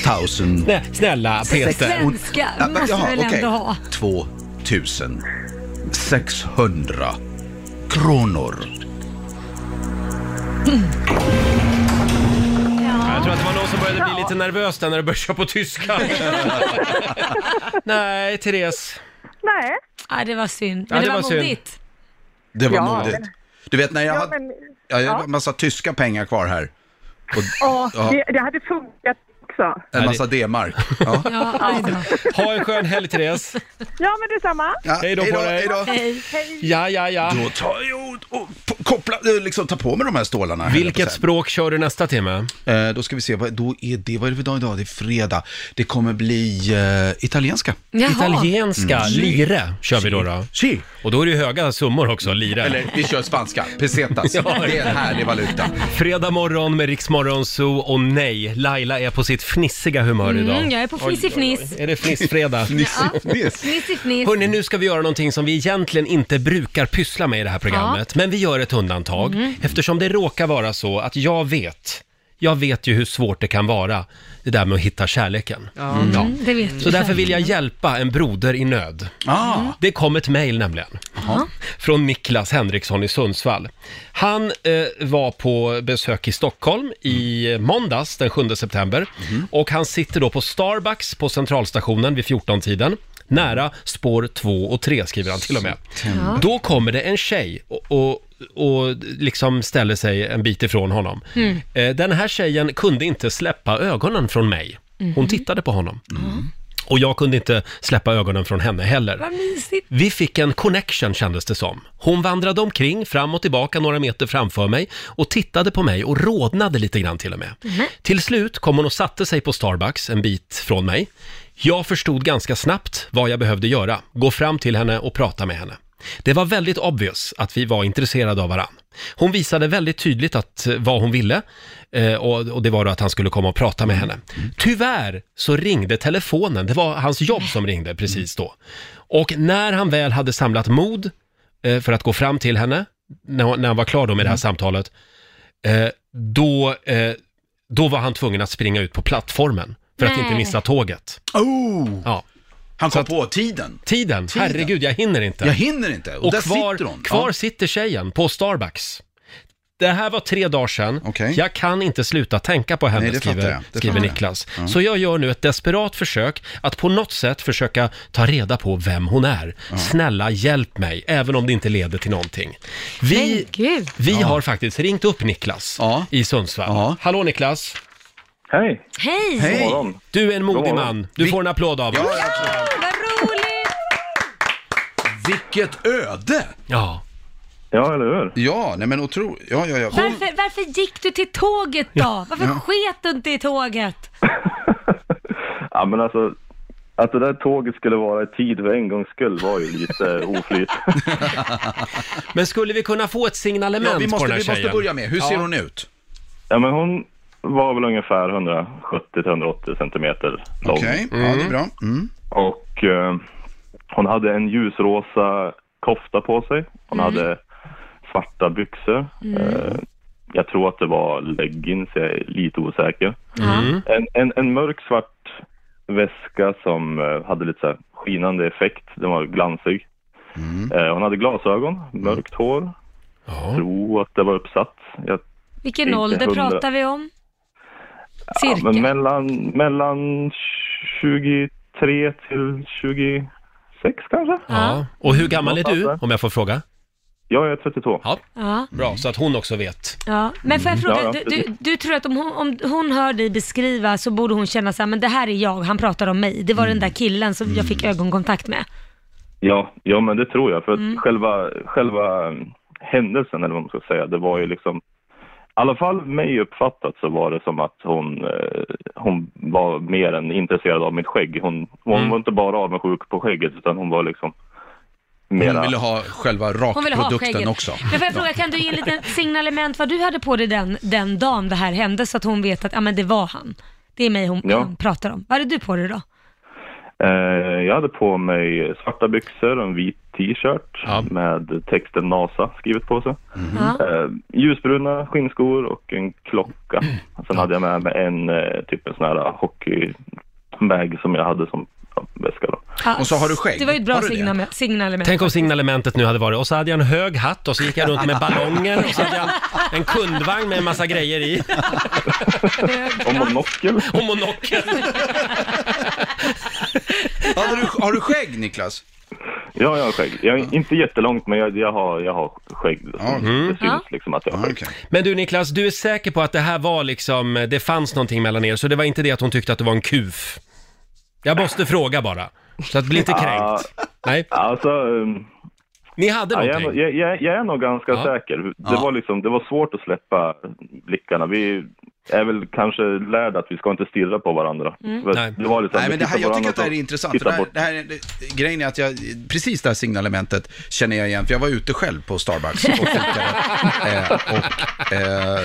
2000. Nej, snälla Peter. Svenska måste väl ändå ha. 2600 kronor. Jag tror att det var någon som började bli lite nervös där när du började köra på tyska. Nej, Therese. Nej. Ja, det var synd. Ja, Men det, det var var synd. modigt. Det var Ja, modigt. Du vet när jag Ja, hade, men, ja, jag hade en massa tyska pengar kvar här. Och ja, Ja. det, det hade funkat också. en massa D-mark. Ja. Ja, aj då. Ha en skön helg, Therese. Ja, men detsamma. Ja, Hej då på dig. hej då. Hej. Ja, ja, ja. Då tar jag och, och p- koppla, eh, liksom ta på mig de här stålarna. höll jag på Vilket att säga. språk kör du nästa timme? Eh, då ska vi se, vad, då är det, vad är det för dag idag? Det är fredag. Det kommer bli eh, italienska. Mm. Jaha. Italienska, lire, kör vi då. då. Si. Och då är det ju höga summor också, lire. Eller vi kör spanska, pesetas. Det är en härlig valuta. Fredag morgon med Riksmorgon Zoo och nej, Laila är på sitt fnissiga humör idag. Mm, jag är på fnissifniss. Är det fnissfredag? Fnissifniss. Hörni, nu ska vi göra någonting som vi egentligen inte brukar pyssla med i det här programmet. Men vi gör ett undantag Mm. eftersom det råkar vara så att jag vet, jag vet ju hur svårt det kan vara det där med att hitta kärleken. Ja. Mm, Det vet vi. Så därför vill jag hjälpa en broder i nöd. Ah, Det kom ett mejl nämligen. Från Niklas Henriksson i Sundsvall. Han eh, var på besök i Stockholm i eh, måndags den 7 september. Och han sitter då på Starbucks på Centralstationen vid 14-tiden. Nära spår 2 och 3 skriver han till och med. Då kommer det en tjej och, och, och liksom ställer sig en bit ifrån honom. Mm. Eh, den här tjejen kunde inte släppa ögonen från mig. Hon tittade på honom. Och jag kunde inte släppa ögonen från henne heller. Vad mysigt. Vi fick en connection kändes det som. Hon vandrade omkring fram och tillbaka några meter framför mig och tittade på mig och rodnade lite grann till och med. Till slut kom hon och satte sig på Starbucks en bit från mig. Jag förstod ganska snabbt vad jag behövde göra. Gå fram till henne och prata med henne. Det var väldigt obvious att vi var intresserade av varann. Hon visade väldigt tydligt att, eh, vad hon ville eh, och, och det var då att han skulle komma och prata med henne. Tyvärr så ringde telefonen, det var hans jobb som ringde precis då. Och när han väl hade samlat mod eh, för att gå fram till henne, när, när han var klar då med det här samtalet, eh, då, eh, då var han tvungen att springa ut på plattformen för att inte Nej. missa tåget. Oh, Ja. han kom på tiden. Tiden, Tiden. herregud jag hinner inte. Jag hinner inte. Och, Och där kvar, sitter hon. kvar Ja. sitter tjejen på Starbucks. Det här var tre dagar sedan. Okej. Jag kan inte sluta tänka på henne, Nej, det fattar skriver, jag. Det skriver fattar jag. Niklas. Så jag gör nu ett desperat försök att på något sätt försöka ta reda på vem hon är. Snälla, hjälp mig, även om det inte leder till någonting. Men Vi, gud. vi har faktiskt ringt upp Niklas Ja. i Sundsvall. Ja. Hallå Niklas! Hej! Hej! Hej! Du är en modig Hallå. man. Du Vi- får en applåd av oss. Ja, absolut. Vad roligt! Vilket öde! Ja. Ja, eller hur? Ja, nej men otroligt. Ja, ja, ja. Hon, Varför, varför gick du till tåget då? Varför sket du inte i tåget? Ja, men alltså, att det där tåget skulle vara i tid för en gångs skull var ju lite oflyt. Men skulle vi kunna få ett signalement ja, vi, på måste, den här vi måste tjejen? börja med, hur ser hon ut? Ja, men hon var väl ungefär 170-180 centimeter lång. Okej, ja det är bra. Mm. Och eh, hon hade en ljusrosa kofta på sig. Hon Mm. hade svarta byxor. Mm. Eh, jag tror att det var leggings, jag är lite osäker. Mm. En, en, en mörk svart väska som eh, hade lite så här skinande effekt. Den var glansig. Eh, hon hade glasögon, mörkt hår. Mm. Ja. Tror att det var uppsatt. Jag, Vilken Inte ålder hundra. pratar vi om? ja, Cirka. men mellan, mellan 23 till 26 kanske? Ja. Och hur gammal är du, om jag får fråga? Jag är 32. Ja. Ja, Bra, så att hon också vet. ja. Men får jag fråga, Mm. Ja, ja, du, precis. du, du tror att om hon, om hon hör dig beskriva så borde hon känna så här, men det här är jag, han pratar om mig. Det var Mm. den där killen som jag fick ögonkontakt med. Ja, ja men det tror jag. För att Mm. själva, själva mm, händelsen, eller vad man ska säga, det Mm. var ju liksom... I alla fall mig uppfattat så var det som att hon, eh, hon var mer än intresserad av mitt skägg. Hon, hon Mm. var inte bara avundsjuk på skägget, utan hon var liksom mera... Hon ville ha själva Hon vill ha rakprodukten skägget. också. Men får jag fråga, kan du ge en liten signalement vad du hade på dig den, den dagen det här hände så att hon vet att ja, men det var han. Det är mig hon Ja. han pratar om. Vad hade du på dig då? eh, jag hade på mig svarta byxor och en vit t-shirt Ja. med texten NASA skrivet på sig. Mhm. Ja. Eh, ljusbruna skinnskor och en klocka. Sen hade jag med mig en eh, typ en sån här hockeybag som jag hade som ja, väska då. Ja, Och så har du skägg. Det var ju ett bra Har du det? signal, signalement. Tänk om signalementet nu hade varit, och så hade jag en hög hatt och så gick jag runt med ballonger och så hade jag en kundvagn med en massa grejer i Och monokel. och monokel. Har du, har du skägg Niklas? Ja, jag har skägg. Jag, är Inte jättelångt, men jag, jag, har, jag har skägg. Ja. Det syns Ja. liksom att jag har Ja, skägg. okej. Men du Niklas, du är säker på att det här var liksom, det fanns någonting mellan er, så det var inte det att hon tyckte att det var en kuf? Jag måste fråga bara, så att bli inte Ah, kränkt. Nej, Alltså, eh, ni hade ja, jag, är nog- någonting? jag, jag, jag är nog ganska Ja. säker. Det, Ja. var liksom, det var svårt att släppa blickarna. Vi är väl kanske lärda att vi ska inte stirra på varandra. För Nej. Det var liksom, Nej, vi men det här, tittar på jag tycker varandra att det här är och intressant. För tittar det här, bort. det här, det, grejen är att jag, precis det här signalementet känner jag igen, för jag var ute själv på Starbucks och fikade. eh, och, eh,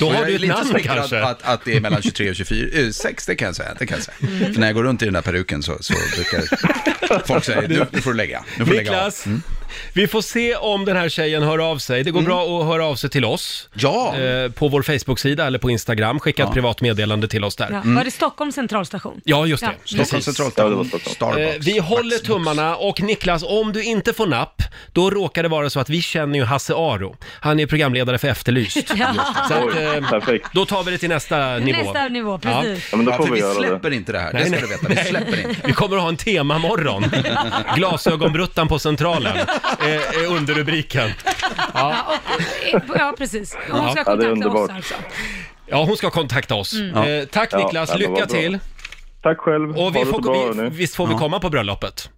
Då och har jag du är ett lite namn smickrad kanske? Att, att det är mellan 23 och 24, eh, 6 det kan jag säga. Det kan jag säga. Mm. För när jag går runt i den där peruken så, så brukar folk säga, nu, nu får du lägga. Nu får du lägga av. Mm. Niklas, vi får se om den här tjejen hör av sig. Det går bra att höra av sig till oss. Ja, eh, på vår Facebook-sida eller på Instagram. Skicka ett privat meddelande till oss där. Ja. Ja, Var det Stockholms centralstation? just det. Ja. Mm. Stockholms Precis. Ja, det var centralstation, Stockholm. Eh, Starbucks. vi håller Starbucks. tummarna och Niklas, om du inte får napp, då råkar det vara så att vi känner ju Hasse Aro. Han är programledare för Efterlyst. Så att, Oj, eh, perfekt. då tar vi det till nästa nivå. Nästa nivå, precis. Ja, men då Ja, får för vi vi göra det. släpper inte det här, det ska du veta. Vi släpper inte. Vi kommer att ha en temamorgon. Glasögonbruttan på Centralen eh, är underrubriken. Ja, och, ja precis. Och Hon ska Ja, det är kontakta oss underbart. alltså. Ja, hon ska kontakta oss. Eh, tack Ja, Niklas, ja, men vad lycka bra. till. Tack själv. Ha Och vi det så får, vi, hörni. visst får vi komma på bröllopet?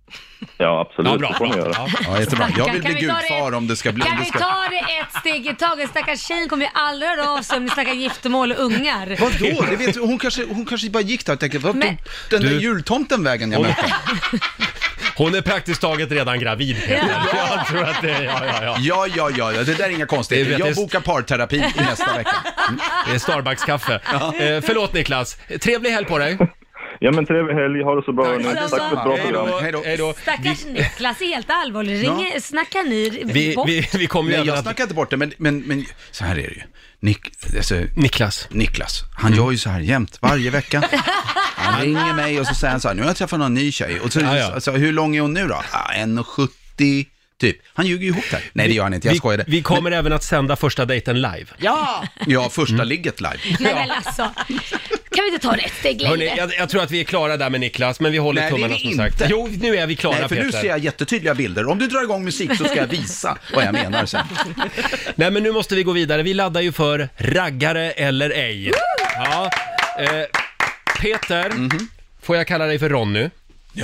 Ja, absolut. Ja, bra, det får ni bra. göra. Ja. Ja, jättebra. Jag vill Kan bli vi ta det- gudfar om det ska bli... Om Kan det vi ska... ta det ett steg i taget? Stackars tjejen kommer ju aldrig höra av sig om ni snackar giftermål och ungar. Vadå? Det vet, du, hon, kanske, hon kanske bara gick där och tänkte, vad Men- tog den där Du- jultomten vägen jag Hon- mötte? Hon är praktiskt taget redan gravid, Peter. Jag tror att det är, ja, ja, ja. Ja, ja, ja, ja, det där är inga Det konstigheter. vet Jag jag. bokar parterapi i nästa vecka. Det är Starbucks-kaffe. Eh, förlåt Niklas, trevlig helg på dig. Ja, men trevlig helg. Ha det så bra. hörni. Tack för ett bra Hej då. program. Hej då. Stackars Niklas är helt allvarlig. Ja. Ringer, Snackar ni Vi, bort? vi, vi kommer ju Nej, även jag att... snackar inte bort det, men, men, men så här är det ju. Nick, alltså, Niklas. Mm. Niklas, han gör ju så här jämt, varje vecka. Han ringer mig och så säger han så här, nu har jag träffat någon ny tjej. Och så, Ja, ja. Alltså, hur lång är hon nu då? Ah, 1,70 typ. Han ljuger ju ihop det här. Nej, det gör han inte, jag Vi, skojade. vi kommer även att sända första dejten live. Ja! Ja, första ligget live. Nej men alltså, kan vi inte ta det ett steg längre? Hörrni, jag, jag tror att vi är klara där med Niklas, men vi håller Nej, det är tummarna vi som inte. sagt. Jo, nu är vi klara Nej, för Peter. nu ser jag jättetydliga bilder. Om du drar igång musik så ska jag visa vad jag menar sen. Nej, men nu måste vi gå vidare. Vi laddar ju för raggare eller ej. Ja. Eh, Peter, får jag kalla dig för Ronny? Mhm. Mm.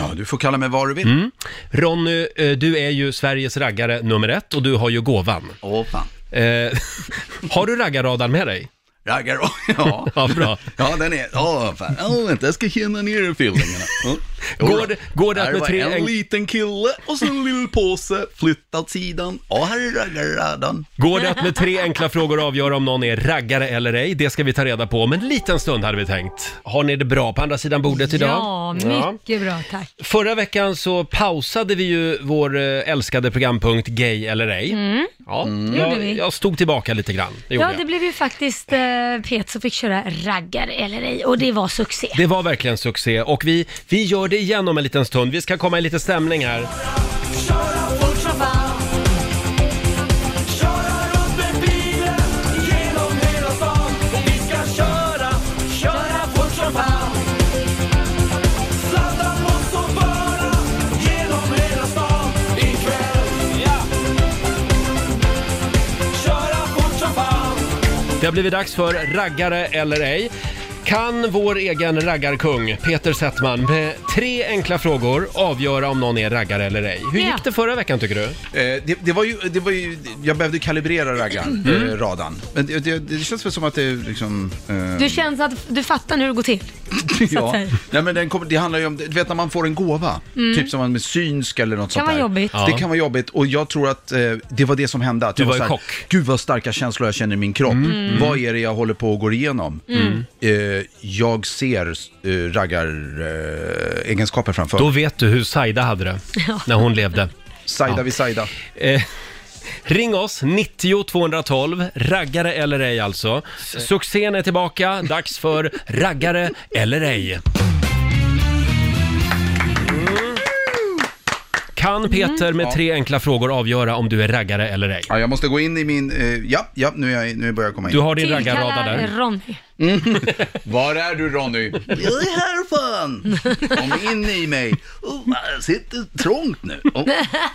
Ja, du får kalla mig vad du vill. Ronny, eh, du är ju Sveriges raggare nummer ett och du har ju gåvan. Åh fan. Eh, har du raggarradan med dig? Raggar och... Ja. Ja, bra. Ja, den är... Åh, fan. Åh, vänta, jag ska känna ner fillingarna. Mm. Går det- går det att här med var tre- en, en- liten kille och så en liten påse, flytta åt sidan. Åh, här är raggarradan. Går det att med tre enkla frågor avgöra om någon är raggare eller ej? Det ska vi ta reda på om en liten stund hade vi tänkt. Har ni det bra på andra sidan bordet idag? Ja, mycket bra tack. Förra veckan så pausade vi ju vår eh, älskade programpunkt Gay eller ej. Ja, Mm. gjorde jag, vi. jag stod tillbaka lite grann. Det, gjorde Ja, det jag. blev ju faktiskt eh, Pet som fick köra raggar eller ej och det var succé. det var verkligen succé och vi, vi gör det igen om en liten stund. Vi ska komma i lite stämning här. Det har blivit dags för raggare eller ej. Kan vår egen raggarkung, Peter Settman, med tre enkla frågor avgöra om någon är raggare eller ej? Hur Ja. gick det förra veckan tycker du? Eh, det, det, var ju, det var ju... Jag behövde kalibrera raggaren, Mm. eh, radan. Men det, det, det känns väl som att det är liksom... Mm. eh, Du känns att du fattar hur det går till. ja. säga. Mm. Nej, men den kommer, det handlar ju om, du vet när man får en gåva, typ som man med synsk eller något sånt vara där. jobbigt. Ja. Det kan vara jobbigt och jag tror att eh, det var det som hände. Att Du jag var i så här, chock. Gud vad starka känslor jag känner i min kropp. Mm. Vad är det jag håller på att gå igenom? Mm. Eh, jag ser eh, raggaregenskaper eh, egenskaper framför. Då vet du hur Saida hade det när hon levde. Sida vid sida. Eh, ring oss, 90 212, raggare eller ej alltså. Succén är tillbaka, dags för raggare eller ej. Mm. Kan Peter med tre enkla frågor avgöra om du är raggare eller ej? Ja, jag måste gå in i min, eh, ja, ja, nu, är jag, nu börjar jag komma in. Mm. Du har din raggarrada Tillkallar där. Ronny. Var är du Ronny? Jag är här fan! Kom in i mig. Oh, jag sitter trångt nu. Oh.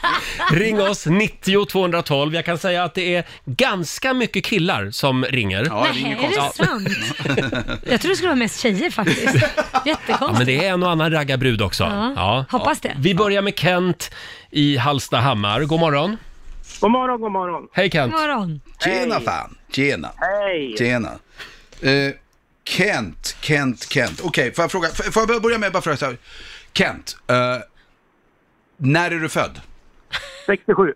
Ring oss, 90 212. Jag kan säga att det är ganska mycket killar som ringer. Ja, det är Nej, inget är det konstigt. sant? Jag tror det skulle vara mest tjejer faktiskt. Ja, men Jättekonstigt. det är en och annan raggarbrud också. Ja, hoppas det. Vi börjar med Kent i Hallstahammar. God morgon. God morgon, god morgon. Hej Kent. God morgon. Tjena fan, tjena, Hej! tjena. Eh, Kent, Kent, Kent. Okej, får jag fråga, f- får jag börja- börja med bara fråga så här. Kent, eh, när är du född? 67.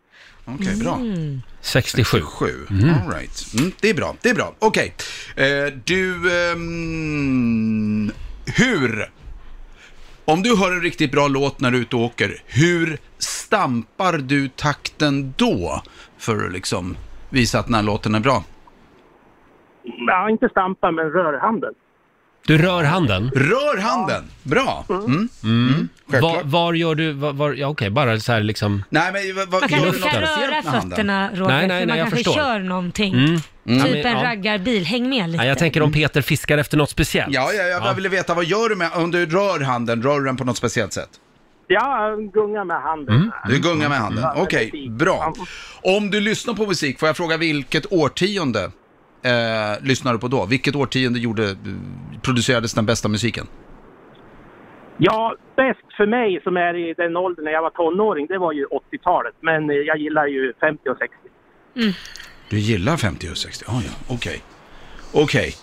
Okej, bra. Mm. 67. Sju. All right. Mm, det är bra, det är bra. Okej. Eh, du, ehm, hur? Om du hör en riktigt bra låt när du är ute och åker, hur stampar du takten då? För att liksom visa att den här låten är bra. Ja, inte stampa, men rörhanden. Du rör handen. Rör handen! Bra! Mm. Mm. Va, Självklart. var gör du, var, var, ja okej, bara så här liksom. Nej, men vad... vad Man kanske gör inte du något kan röra speciellt med handen? Mm. fötterna Roger, Nej, nej, för nej, man jag kanske förstår. Mm. kör någonting. Ja, Typ men, en ja. raggarbil, häng med lite. Ja, jag tänker om Peter fiskar efter något speciellt. Ja, ja, jag bara ville veta, vad gör du med, om du rör handen, rör du den på något speciellt sätt? Ja, gunga med handen. Mm. Du gungar med handen, okej, musik. bra. Om du lyssnar på musik, får jag fråga vilket årtionde eh, lyssnar du på då? Vilket årtionde gjorde, producerades den bästa musiken? Ja, bäst för mig som är i den åldern när jag var tonåring, det var ju 80-talet. Men eh, jag gillar ju 50 och 60. Du gillar 50 och 60? Ah, ja, okej. Okej.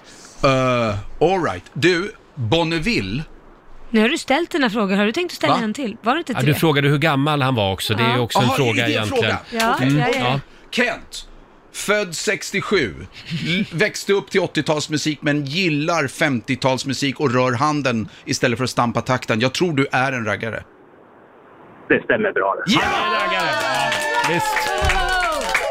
Okay. Alright. Du, Bonneville. Nu har du ställt dina frågor. Har du tänkt att ställa Va? en till? Var det inte Ja, tre? du frågade hur gammal han var också. Det är Ja. också en Jaha, fråga det är en egentligen. Mm. fråga. Ja, ja, ja. Kent, född 67, l- växte upp till 80-talsmusik men gillar 50-talsmusik och rör handen istället för att stampa takten. Jag tror du är en raggare. Det stämmer bra det. Visst.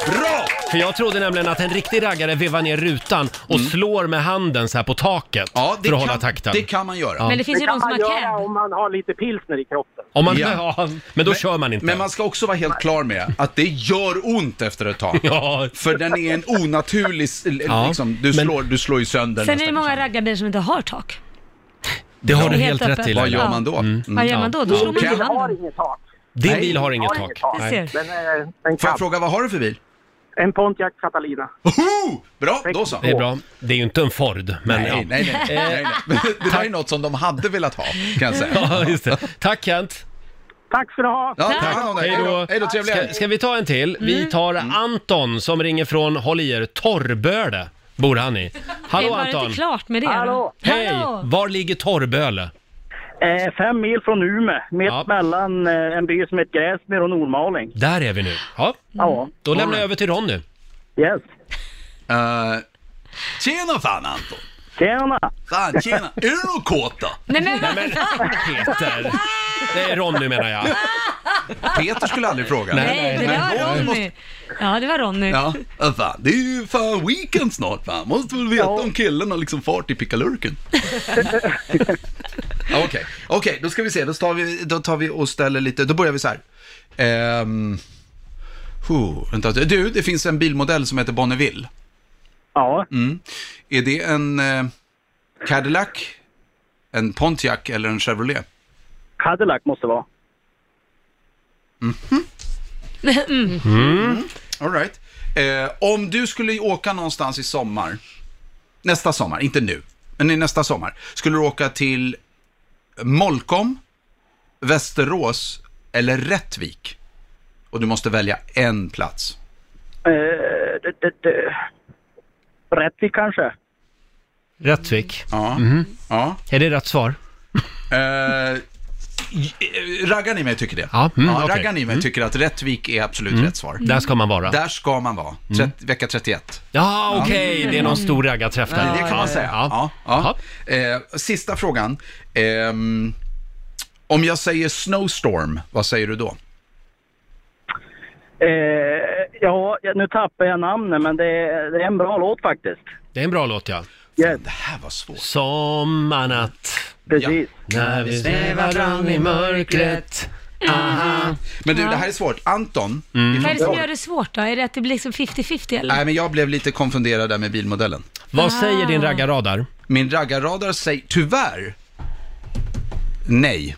Bra! För jag trodde nämligen att en riktig raggare vevar ner rutan och slår med handen så här på taket för att hålla takten. Mm. Det kan man göra. Ja. Men det finns ju kan de som man har göra om man har lite pilsner i kroppen. Om man, Ja. ja. men då kör man inte. Men man ska också vara helt klar med att det gör ont efter ett tag. Ja. För den är en onaturlig... s- l- Ja, Liksom, du, men- slår, du slår ju sönder Sen är det nästan. många raggarbilar som inte har tak. Det har Ja. du helt Helt rätt öppet. till. Vad Laila. gör man då? Vad gör man då? Då slår man Okej. med har handen. inget tak. Din Nej. bil har inget Har tak. inget tak. Du Nej. ser. Den är en Får cab. jag fråga, vad har du för bil? En Pontiac Catalina. Oho! Bra, då så. Det är bra. Det är ju inte en Ford, men Nej, ja. Eh, nej, nej, nej, nej. Det där är något som de hade velat ha, kan jag säga. Ja, just det. Tack Kent! Tack ska du ha! Ja, ta hand om dig. Hej då. Hej då, trevlig Ska, helg. ska vi ta en till? Vi Mm. tar Mm. Anton som ringer från, håll i er, Torrböle bor han i. Hallå Var det Anton! inte klart med det? då? Hallå. Hej! Hallå. Var ligger Torrböle? Eh, fem mil från Umeå, mitt Ja. mellan eh, en by som heter Gräsmyr och Nordmaling. Där är vi nu. Ja, Ja, då lämnar jag över till Ronny. yes. Eh, tjena fan Anton! Tjena! Fan, tjena! Är du någon kåta? Nej men vad Peter! Det är Ronny menar jag. Peter skulle aldrig fråga. Nej, det var Ronny Ronny. Ja, det var Ronny. Ja, ja, fan, det är ju fan weekend snart fan. Måste väl veta om killen har liksom fart i pickalurken. Ja, Okej, okej, då ska vi se. Då tar vi, då tar vi och ställer lite, då börjar vi så här. Ehm, huh, vänta. Du, det finns en bilmodell som heter Bonneville. Mm. Ja, Är det en eh, Cadillac, en Pontiac eller en Chevrolet? Cadillac måste vara. Mm. Mm-hmm. Mm. All right. Eh, om du skulle åka någonstans i sommar, nästa sommar, inte nu, men i nästa sommar, skulle du åka till Molkom, Västerås eller Rättvik? Och du måste välja en plats. Eh, det, det, det. Rättvik kanske? Rättvik. Ja. ja. Mhm. Är det rätt svar? Eh, j- eh, raggarn i mig tycker det. Ja, mm, okej. raggarn i mig tycker att Rättvik är absolut rätt svar. Där ska man vara. Mm. Där ska man vara, Tret- vecka 31. Ja, okej, det är någon stor raggarträff där. Det kan man säga. Ja. Ja. Eh, sista frågan. Ehm, om jag säger snowstorm, vad säger du då? Eh, ja, nu tappar jag namnet men det är, det är en bra låt faktiskt. Det är en bra låt ja. Yes, Det här var svårt. Sommarnatt, precis. när vi svävar fram i mörkret. Men du, det här är svårt. Anton? Mm. Vad är det som gör det svårt då? Är det att det blir liksom 50-50 eller? Nej, men jag blev lite konfunderad där med bilmodellen. Vad Ah. säger din raggarradar? Min raggarradar säger tyvärr nej.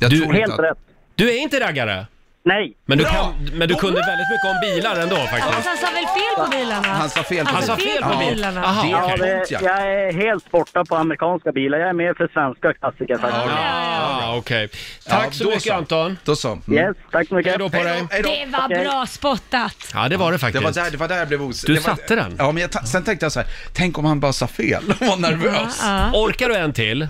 Jag Du- tror inte Helt att- rätt. Du är inte raggare, Nej, men du, Bra! kan, men du kunde väldigt mycket om bilar ändå faktiskt. Fast han sa väl fel på bilarna? Han sa fel på Han sa bilen. fel på Ja. bilarna. Aha, Det är okej. ja, det, Pontiac. jag är helt borta på amerikanska bilar. Jag är mer för svenska klassiker faktiskt. Ja, okej. Ja, Tack så då mycket Anton. Då så. Mm. Yes, tack så mycket. Hej då på dig. Hej då. Det var bra spottat! Ja, det var det Det faktiskt. var, där, det var där jag blev os... Du det var... satte den. Ja, men jag ta... sen tänkte jag så här, tänk om han bara sa fel och var nervös. Ja, Orkar du en till?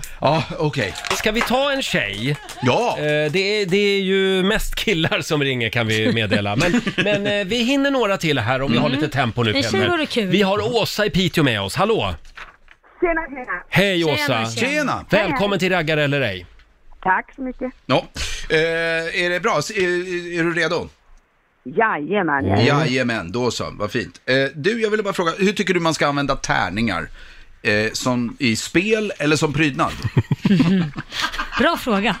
okej. Ska vi ta en tjej? Ja! Eh, det, är, det är ju mest killar som ringer kan vi meddela. Men, men eh, vi hinner några till här om vi Mm. har lite tempo nu Det känns Peter. vore kul. Vi har Åsa i Piteå med oss, hallå! Tjena, tjena. Hej Tjena, Åsa! tjena. Tjena! Välkommen till Raggar eller ej. Tack så mycket. Ja. Eh, är det bra? S- Är, är du redo? Jajamän. Mm. Jajamän, då så. Vad fint. Eh, du, jag ville bara fråga, hur tycker du man ska använda tärningar? Eh, som i spel eller som prydnad? Bra fråga.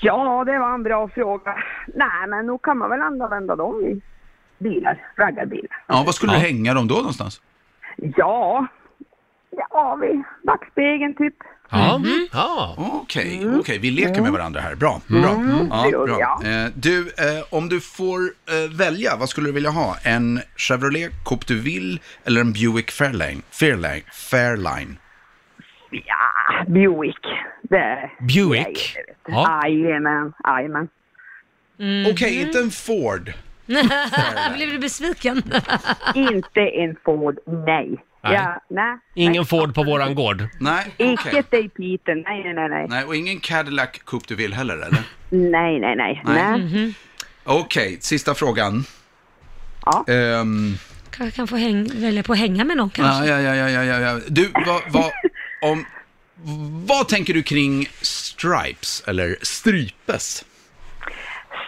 Ja, det var en bra fråga. Nej, men nog kan man väl använda dem i bilar, raggarbilar. Ja, vad skulle du hänga dem då någonstans? Ja, ja vi backspegeln typ. Ja, ja. Mm. Okej, okej, vi leker med varandra här. Bra, bra. det Ja, gör vi, bra. Eh, du, eh, om du får eh, välja, vad skulle du vilja ha? En Chevrolet Coupe du Ville eller en Buick Fairlane? Fairlane? Fairline? Ja, Buick. Det är... Buick? Ja. Jajamän, jajamän. Okej, inte en Ford. Mm. Blev du besviken? inte en Ford, nej. Nej. Ja, nej. Ingen Ford på våran gård? Nej, okej. Icke dig Peter, nej, nej, nej, nej. Nej, och ingen Cadillac Coupe du vill heller, eller? Nej, nej, nej. Nej. nej. Mm. Mhm. Okej, sista frågan. Ehm, Ja. Kanske kan få häng, välja på att hänga med någon kanske. ja, ja, ja, ja, ja, ja. Du, vad, vad, om, vad tänker du kring stripes, eller strypes?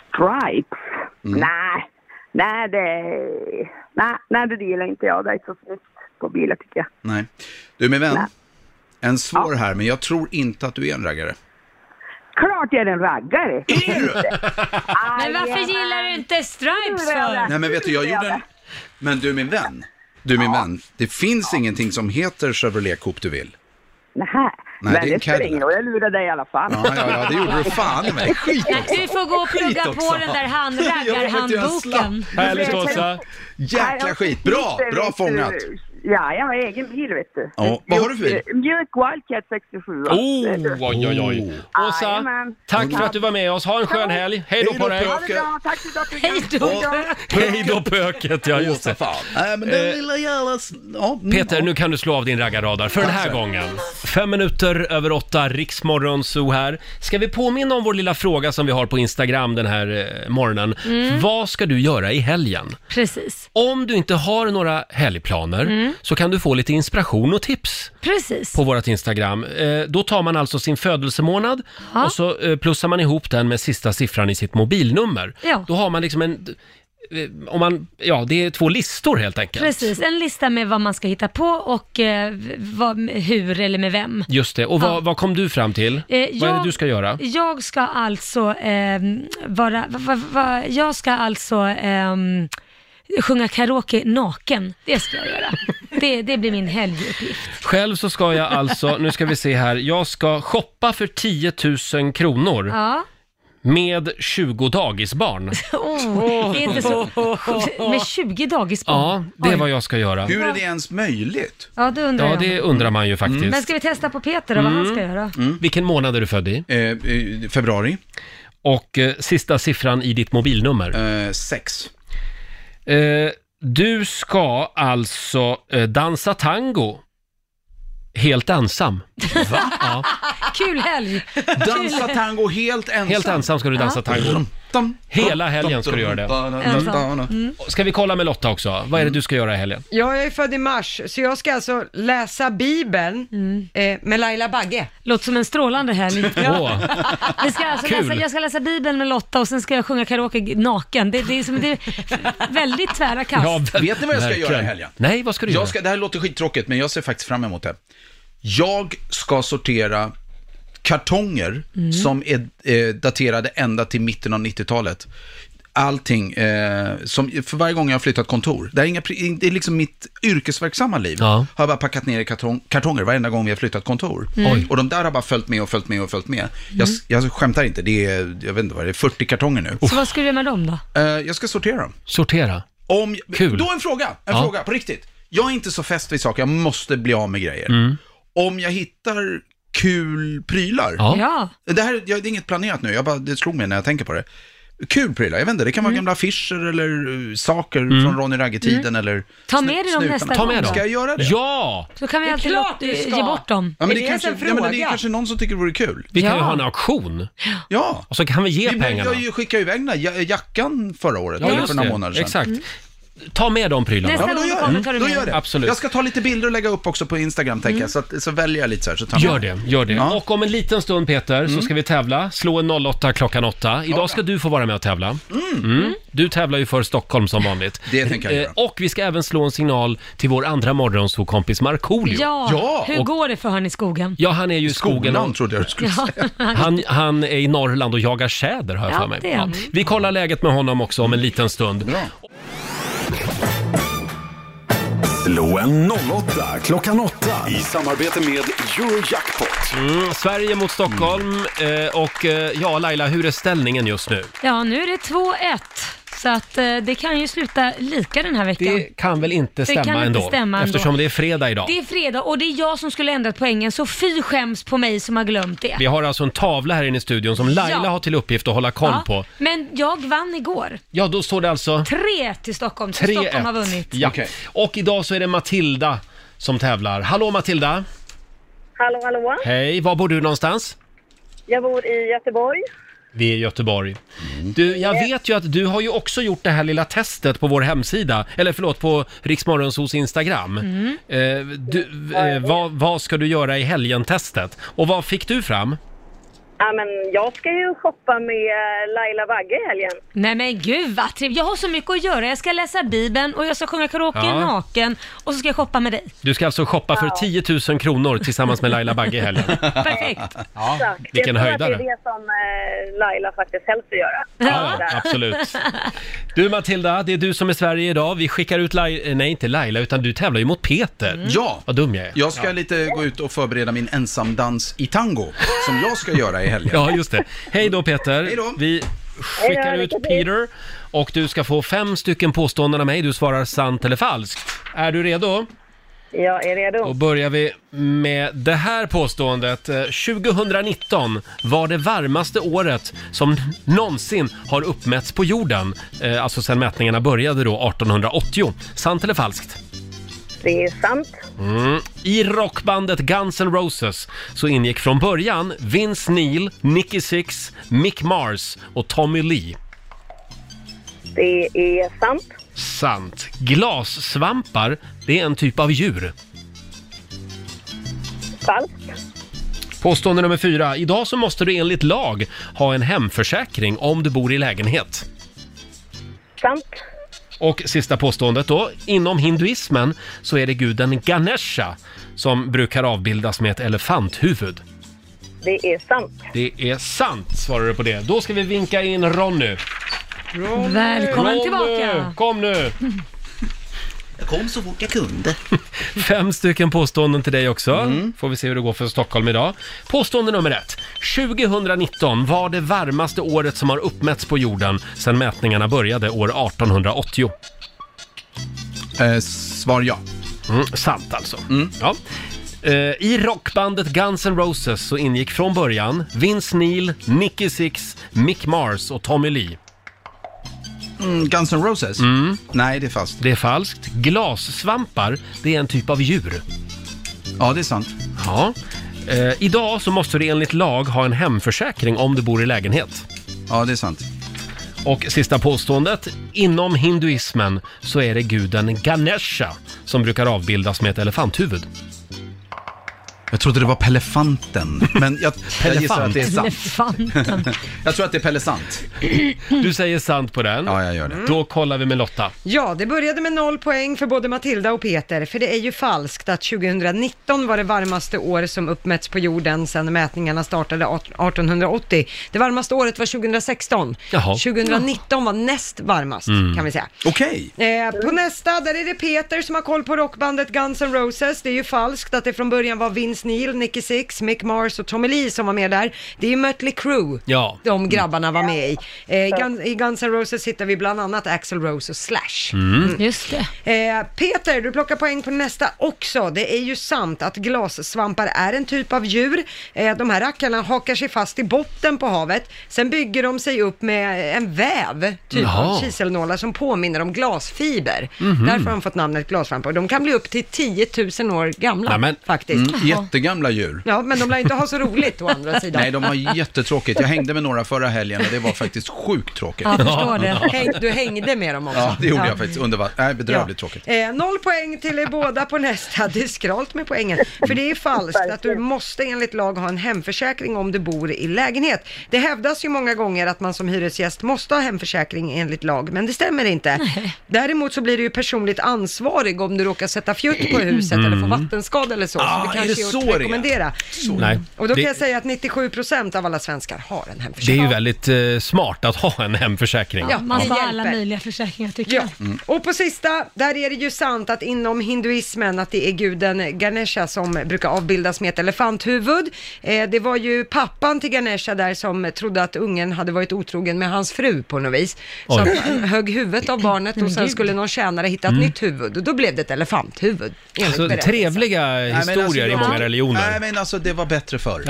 Stripes? Mm. Nej, nej det... Nej, nej, det gillar inte jag. Det är så snyggt på bilar tycker jag. Nej. Du, min vän. En svår här, men jag tror inte att du är en raggare. Klart jag är en raggare! Är du? Men varför gillar du inte stripes för? Nej, men vet du, jag gjorde en... Men du, min vän. Du, min vän. Det finns ingenting som heter Chevrolet Coupe du vill. Nähä. Nej, Nej, det är en men det spelar ingen roll, jag lurar dig i alla fall. Ja, ja, ja, det gjorde du fan i mig. Skit Nej, också. du får gå och plugga Skit på också. den Jag där får inte göra en handraggarhandboken. slapp. Härligt, Åsa. Jäkla skit. Bra, bra fångat. Ja, jag har egen bil vet du. Ja, vad har du för bil? Mjuk Wildcat 67. Oh, va? alltså. Vet du. oj, oj, oj. Mm. Åsa, Jajamän. tack för att du var med oss. Ha en skön helg. Hej då på dig. Ha det bra, tack för att du kom. Hej då pöket, ja just det. Nej, men Eh, den lilla jävla... s- Ja, mm, Peter, ja. nu kan du slå av din raggarradar för den här gången. Fem minuter över åtta, Riksmorgon Zoo här. Ska vi påminna om vår lilla fråga som vi har på Instagram den här eh, morgonen? Mm. Vad ska du göra i helgen? Precis. Om du inte har några helgplaner Mm. så kan du få lite inspiration och tips Precis. på vårt Instagram. Eh, då tar man alltså sin födelsemånad Ja. och så eh, plussar man ihop den med sista siffran i sitt mobilnummer. Ja. Då har man liksom en... eh, Om man, ja, det är två listor helt enkelt. Precis, en lista med vad man ska hitta på och eh, vad, hur eller med vem. Just det. Och vad, Ja. vad kom du fram till? Eh, vad är det jag- du ska göra? Jag ska alltså eh, vara, va, va, va, jag ska alltså eh, sjunga karaoke naken. Det ska jag göra. Det, det blir min helguppgift. Själv så ska jag alltså, nu ska vi se här, jag ska shoppa för 10 000 kronor Ja. med 20 dagisbarn. Oh, det är inte så. Med 20 dagisbarn. Ja, det är Oj. vad jag ska göra. Hur är det ens möjligt? Ja, det undrar Ja, jag. det undrar man ju Men faktiskt. ska vi testa på Peter då, vad han ska göra? Mm. Vilken månad är du född i? Eh, februari. Och eh, sista siffran i ditt mobilnummer? Eh, Eh, sex. du ska alltså eh, dansa tango helt ensam. Va? Ja. Kul helg! Dansa Kul- tango helt ensam. Helt ensam ska du dansa tango. Hela helgen ska du göra det. Ensam. Ska vi kolla med Lotta också? Vad är Mm. det du ska göra i helgen? Ja, jag är född i mars, så jag ska alltså läsa Bibeln eh, med Laila Bagge. Mm. Låter som en strålande helg. Åh. Vi ska alltså Kul. läsa, jag ska läsa Bibeln med Lotta och sen ska jag sjunga karaoke naken. Det, det, är, som, det är väldigt tvära kast. Vet ni vad jag ska Verkligen. göra i helgen? Nej, vad ska du jag göra? Ska, det här låter skittråkigt, men jag ser faktiskt fram emot det. Jag ska sortera kartonger Mm. som är eh, daterade ända till mitten av 90-talet. Allting, eh, som, för varje gång jag har flyttat kontor, det, här är inga, pri- det är liksom mitt yrkesverksamma liv, har jag bara packat ner i kartong, kartonger varenda gång vi har flyttat kontor. Mm. Oj. Mm. Och de där har bara följt med och följt med och följt med. Jag, jag skämtar inte, det är, jag vet inte vad det är, 40 kartonger nu. Så vad ska du göra med dem då? Eh, jag ska sortera dem. Sortera. Om, Kul. Då en fråga, en Ja. fråga på riktigt. Jag är inte så fäst vid saker, jag måste bli av med grejer. Mm. Om jag hittar kul prylar, Ja. Ja. det här jag, det är inget planerat nu, jag bara, det slog mig när jag tänker på det. Kul prylar, jag vet inte, det kan Mm. vara gamla affischer eller uh, saker Mm. från Ronny Ragge-tiden eller Ta med dig dem snutarna. nästa Ta med gång dem. då. Ska jag göra det? Ja! Så kan vi Det är alltid klart låta, du ska. ge bort dem. Ja, men Är det, det kanske, ens en ja, men det är fråga? kanske någon som tycker det vore kul. Vi kan ju Ja. ha en auktion. Ja. Och så kan vi ge Vi pengarna. jag ju skickade iväg den där ja- jackan förra året, Ja, eller just för några det. månader sedan. Mm. Exakt. Ta med de prylarna. Nästa Ja, men då gång du gör, kommer jag tar det. du då med gör dem. det. Absolut. Jag ska ta lite bilder och lägga upp också på Instagram, tänker jag. Så, att, så väljer jag lite så här. Så tar jag Gör med. det, gör det. Ja. Mm. Och om en liten stund Peter så ska vi tävla. Slå en 08 klockan 8. Idag ska du få vara med och tävla. Mm. Du tävlar ju för Stockholm som vanligt. Det tänker jag Eh, göra. Och vi ska även slå en signal till vår andra morgonsåkompis Markoolio. Ja. Ja, hur och- går det för han i skogen? Ja, han är ju i skogen Skolan och, trodde jag du skulle säga. han, han är i Norrland och jagar tjäder har jag Ja, för mig. det är han. Vi kollar läget med honom också om en liten stund. Bra. Slå en 08 klockan 8 i samarbete med Eurojackpot. Mm, Sverige mot Stockholm eh, och eh, ja Laila, hur är ställningen just nu? Ja, nu är det 2-1. Så att eh, det kan ju sluta lika den här veckan. Det kan väl inte Det stämma, kan inte ändå, stämma ändå. Eftersom det är fredag idag. Det är fredag och det är jag som skulle ändrat poängen, så fy skäms på mig som har glömt det. Vi har alltså en tavla här inne i studion som Laila Ja. har till uppgift att hålla koll Ja, på. Men jag vann igår. Ja, då står det alltså... Tre till Stockholm, så 3-1. Stockholm har vunnit. Ja. Och idag så är det Matilda som tävlar. Hallå Matilda! Hallå, hallå. Hej, var bor du någonstans? Jag bor i Göteborg. Vi är i Göteborg. Du, jag vet ju att du har ju också gjort det här lilla testet på vår hemsida, eller förlåt, på Riksmorgonsos Instagram. Mm. Eh, du, eh, vad, vad ska du göra i helgen-testet? Och vad fick du fram? Ja, men jag ska ju shoppa med eh, Laila Bagge i helgen. Nej men gud vad trevligt. Jag har så mycket att göra. Jag ska läsa Bibeln och jag ska sjunga karaoke Ja. naken och så ska jag shoppa med dig. Du ska alltså shoppa för 10 000 kronor tillsammans med Laila Bagge i helgen. Perfekt. Ja, Exakt. vilken jag tror att höjdare. Det är det som eh, Laila faktiskt helst vill göra. Ja, ja, absolut. Du Matilda, det är du som är Sverige idag. Vi skickar ut Laila, nej inte Laila, utan du tävlar ju mot Peter. Mm. Ja. Vad dum jag är. Jag ska lite gå ut och förbereda min ensamdans i tango, som jag ska göra i helgen. Ja, just det. Hej då Peter. Vi skickar Hej då, ut lycka till. Peter och du ska få fem stycken påståenden av mig. Du svarar sant eller falskt. Är du redo? Jag är redo. Då börjar vi med det här påståendet. Eh, 2019 var det varmaste året som någonsin har uppmätts på jorden. Eh, Alltså sedan mätningarna började då 1880. Sant eller falskt? Det är sant. Mm. I rockbandet Guns N' Roses så ingick från början Vince Neil, Nicky Six, Mick Mars och Tommy Lee. Det är sant. Sant. Glassvampar, det är en typ av djur. Falskt. Påstående nummer fyra. Idag så måste du enligt lag ha en hemförsäkring om du bor i lägenhet. Sant. Och sista påståendet då. Inom hinduismen så är det guden Ganesha som brukar avbildas med ett elefanthuvud. Det är sant. Det är sant, svarar du på det. Då ska vi vinka in Ronny. Ronny! Välkommen tillbaka. Kom nu! Jag kom så fort jag kunde. Fem stycken påståenden till dig också. Mm. Får vi se hur det går för Stockholm idag. Påstående nummer ett. 2019 var det varmaste året som har uppmätts på jorden sedan mätningarna började år 1880. Eh, svar ja. Mm. Mm, sant alltså. Ja. Eh, I rockbandet Guns N' Roses så ingick från början Vince Neil, Nicky Six, Mick Mars och Tommy Lee. Mm, Guns N' Roses? Nej, det är falskt. Det är falskt. Glassvampar, det är en typ av djur. Ja, det är sant. Ja. Eh, idag så måste du enligt lag ha en hemförsäkring om du bor i lägenhet. Ja, det är sant. Och sista påståendet. Inom hinduismen så är det guden Ganesha som brukar avbildas med ett elefanthuvud. Jag trodde det var Pelefanten, men jag, jag gissar att det är sant. Elefanten. jag tror att det är Pelle Sant. Du säger sant på den. Ja, jag gör det. Då kollar vi med Lotta. Ja, det började med noll poäng för både Matilda och Peter, för det är ju falskt att 2019 var det varmaste år som uppmätts på jorden sedan mätningarna startade 1880. Det varmaste året var 2016. Jaha. 2019 var näst varmast, Mm. kan vi säga. Okej. Eh, på nästa, där är det Peter som har koll på rockbandet Guns N' Roses. Det är ju falskt att det från början var Vince Neil, Nicky Six, Mick Mars och Tommy Lee som var med där. Det är ju Mötley Crüe Ja. de grabbarna var med i. Eh, i Gun- I Guns N' Roses hittar vi bland annat Axl Rose och Slash. Mm. Just det. Eh, Peter, du plockar poäng på nästa också. Det är ju sant att glassvampar är en typ av djur. Eh, de här rackarna hakar sig fast i botten på havet. Sen bygger de sig upp med en väv, typ av Jaha. kiselnålar som påminner om glasfiber. Mhm. Därför har de fått namnet glasvampar. De kan bli upp till 10 000 år gamla Nämen. faktiskt. Mm, jättegamla djur. Ja, men de lär inte ha så roligt å andra sidan. Nej, de har jättetråkigt. Jag hängde med några förra helgen och det var faktiskt sjukt tråkigt. Ja, jag förstår det. Häng, du hängde med dem också. Ja, det gjorde jag faktiskt. Underbart. Nej, bedrövligt tråkigt. Eh, noll poäng till er båda på nästa. Det är skralt med poängen. För det är falskt att du måste enligt lag ha en hemförsäkring om du bor i lägenhet. Det hävdas ju många gånger att man som hyresgäst måste ha hemförsäkring enligt lag, men det stämmer inte. Däremot så blir du ju personligt ansvarig om du råkar sätta fjutt på huset eller får Mm. vattenskada eller så. Ah, det är det är åt så såriga. rekommendera. Nej, Och då kan det- jag säga att 97% av alla svenskar har en hemförsäkring. Det är ju väldigt eh, smart att ha en hemförsäkring. Ja, Man det ska ha hjälper. alla möjliga försäkringar tycker Ja. jag. Mm. Och på sista, där är det ju sant att inom hinduismen att det är guden Ganesha som brukar avbildas med ett elefanthuvud. Eh, det var ju pappan till Ganesha där som trodde att ungen hade varit otrogen med hans fru på något vis. Så Oj. han högg huvudet av barnet och Men sen gud. skulle någon tjänare hitta ett Mm. nytt huvud och då blev det ett elefanthuvud. enligt Alltså, Så berättelsen. Alltså, trevliga Nej, men alltså, historier i jag- många religioner. Nej, men alltså det var bättre förr.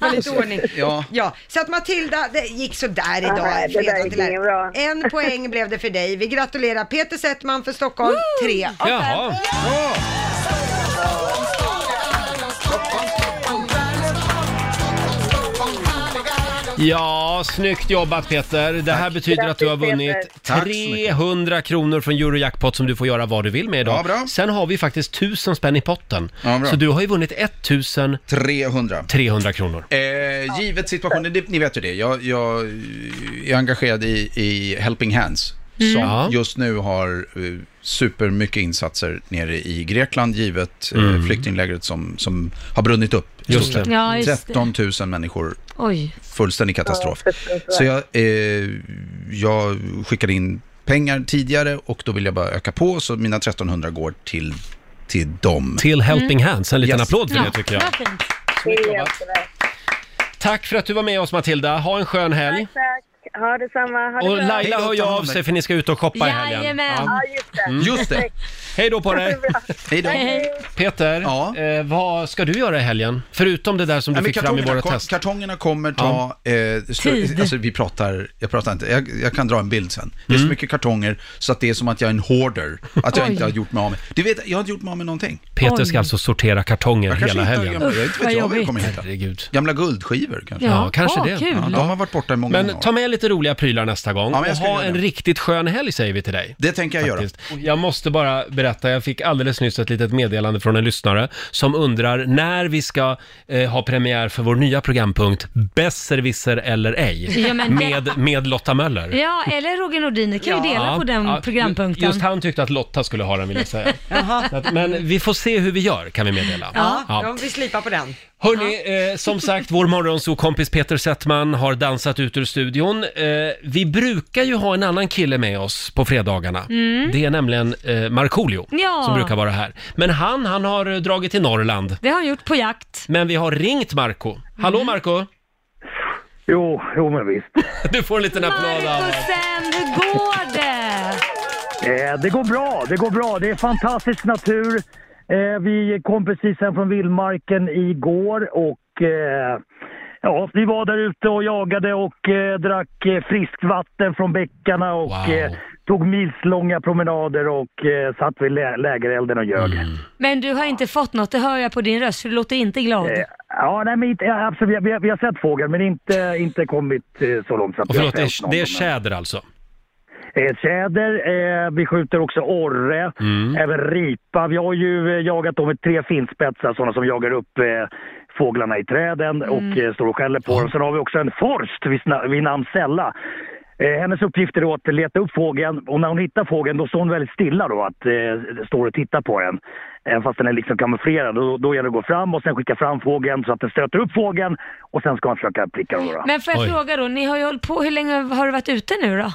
Med lite ordning. Ja. så att Matilda, det gick sådär Nej, idag. det fredag där gick till här. inget bra. En poäng blev det för dig. Vi gratulerar Peter Settman för Stockholm, tre av Jaha. fem. Ja, snyggt jobbat Peter. Det här betyder att du har vunnit Grattis, Peter. Tack så 300 kronor från Eurojackpot som du får göra vad du vill med idag. Ja, bra. Sen har vi faktiskt 1000 spänn i potten. Ja, bra. så du har ju vunnit 1000... 300. 300 kronor. Eh, givet situationen, det, ni vet ju det, jag, jag eh, är engagerad i, i Helping Hands. Mm. Som Ja. just nu har eh, supermycket insatser nere i Grekland, givet eh, Mm. flyktinglägret som, som har brunnit upp. i Just stort det. sett. Ja, just det. 13 000 människor Oj. fullständig katastrof. Så jag, eh, jag skickade in pengar tidigare och då vill jag bara öka på, så mina 1300 går till, till dem. Mm. Till Helping Hands. En liten applåd för Ja, det tycker jag. vad fint. Tack för att du var med oss Matilda. Ha en skön helg. Tack, ha detsamma. Ha det Och bra. Laila hör ju av sig för ni ska ut och shoppa i helgen. Jajamän. Ja, just det. Mm. Just det. Hej då på dig. Hej då. Hej. Peter, eh, vad ska du göra i helgen? Förutom det där som du Nej, men fick fram i kartongerna våra kom- test. Kartongerna kommer ta... Eh, slu- Tid. alltså vi pratar, jag pratar inte, jag, jag kan dra en bild sen. Det är så mycket kartonger så att det är som att jag är en hoarder. Att jag Mm. Oj. inte har gjort mig av med. Du vet, jag har inte gjort mig av med någonting. Peter ska alltså sortera kartonger Jag kanske hela hittar helgen. gamla, jag vet inte jag vad jag kommer hitta. Herregud. Gamla guldskivor kanske? Ja, kanske det. Ja, de har varit borta i många Men år. ta med lite roliga prylar nästa gång Ja, men jag och ska ha göra en det. riktigt skön helg säger vi till dig. Det tänker jag göra. Faktiskt. Jag måste bara berätta, jag fick alldeles nyss ett litet meddelande från en lyssnare som undrar när vi ska eh, ha premiär för vår nya programpunkt Besserwisser eller ej Ja, men det- med, med Lotta Möller. Ja, eller Roger Nordin, ni kan ju dela Ja, på den ja, programpunkten. Just han tyckte att Lotta skulle ha den vill jag säga. Jaha. Så att- Men vi får se hur vi gör kan vi meddela. Ja, ja. vi slipar på den. Hörni, eh, som sagt, vår morgonsokompis Peter Settman har dansat ut ur studion. Eh, vi brukar ju ha en annan kille med oss på fredagarna. Mm. Det är nämligen eh, Markoolio Ja. som brukar vara här. Men han, han har eh, dragit till Norrland. Det har han gjort på jakt. Men vi har ringt Marco. Hallå Mm. Marco! Jo, jo men visst. Du får en liten applåd av oss. Markusen, hur går det? Eh, det går bra, det går bra. Det är fantastisk natur. Eh, vi kom precis hem från vildmarken igår och eh, ja, vi var där ute och jagade och eh, drack eh, friskt vatten från bäckarna och eh, tog milslånga promenader och eh, satt vid lä- lägerelden och ljög. Mm. Men du har inte fått något, det hör jag på din röst, för du låter inte glad. Eh, Ja, nej, men inte, ja, absolut, vi, har- vi, har- vi har sett fågel men inte, inte kommit eh, så långt. Så att Och vi har förlåt, det fällt är, någon. det är tjäder alltså? Eh, Tjäder, eh, vi skjuter också orre, även ripa. Vi har ju eh, jagat dem med tre finspetsar, sådana som jagar upp eh, fåglarna i träden Mm. och eh, står och skäller på dem. Sen har vi också en forst vid, sna- vid namn Sella. Eh, hennes uppgift är då att leta upp fågeln och när hon hittar fågeln då står hon väldigt stilla då, att eh, står och tittar på den. Även fast den är liksom kamouflerad. Då, då gäller det att gå fram och sen skicka fram fågeln så att den stöter upp fågeln och sen ska man försöka pricka den. då. Men får jag fråga då, ni har ju hållit på, hur länge har du varit ute nu då?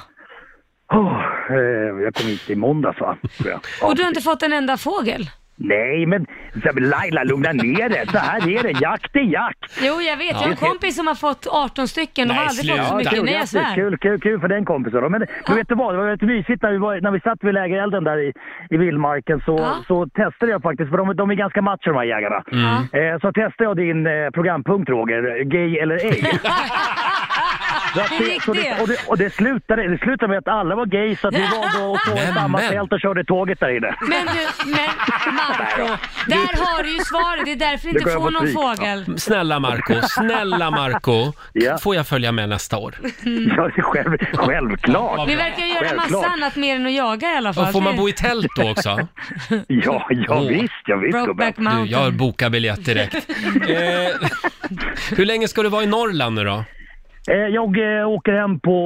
Oh, eh, jag kom hit i måndags va? tror jag. Ja. Och du har inte fått en enda fågel? Nej, men så- Laila, lugna ner dig. Så här är det. Jakt är jakt. Jo, jag vet. Jag har en kompis som har fått 18 stycken, de har aldrig fått så mycket. kul, Nej, jag grattis. svär. kul, kul, kul för den kompisen. då. Men du vet du vad, det var rätt mysigt när vi, var, när vi satt vid lägerelden där i, i vildmarken så, så testade jag faktiskt, för de, de är ganska macho de här jägarna. Mm. Mm. Eh, så testade jag din eh, programpunkt Roger, gay eller ej. Så att Hur gick så det? Och det, och det, slutade, det slutade med att alla var gay så att vi valde att stå i samma Nämen. tält och körde tåget där inne. Men du, men Marco, där har du ju svaret. Det är därför du Det inte går jag får på någon pris. fågel. Snälla Marco, snälla Marco. Får jag följa med nästa år? Ja, själv, självklart. Ni Mm. verkar ju göra massa annat mer än att jaga i alla fall. Och får man Det- bo i tält då också? ja, ja visst, ja visst Brokeback gubben. Du, jag bokar biljett direkt. eh, hur länge ska du vara i Norrland nu då? Eh, Jag eh, åker hem på...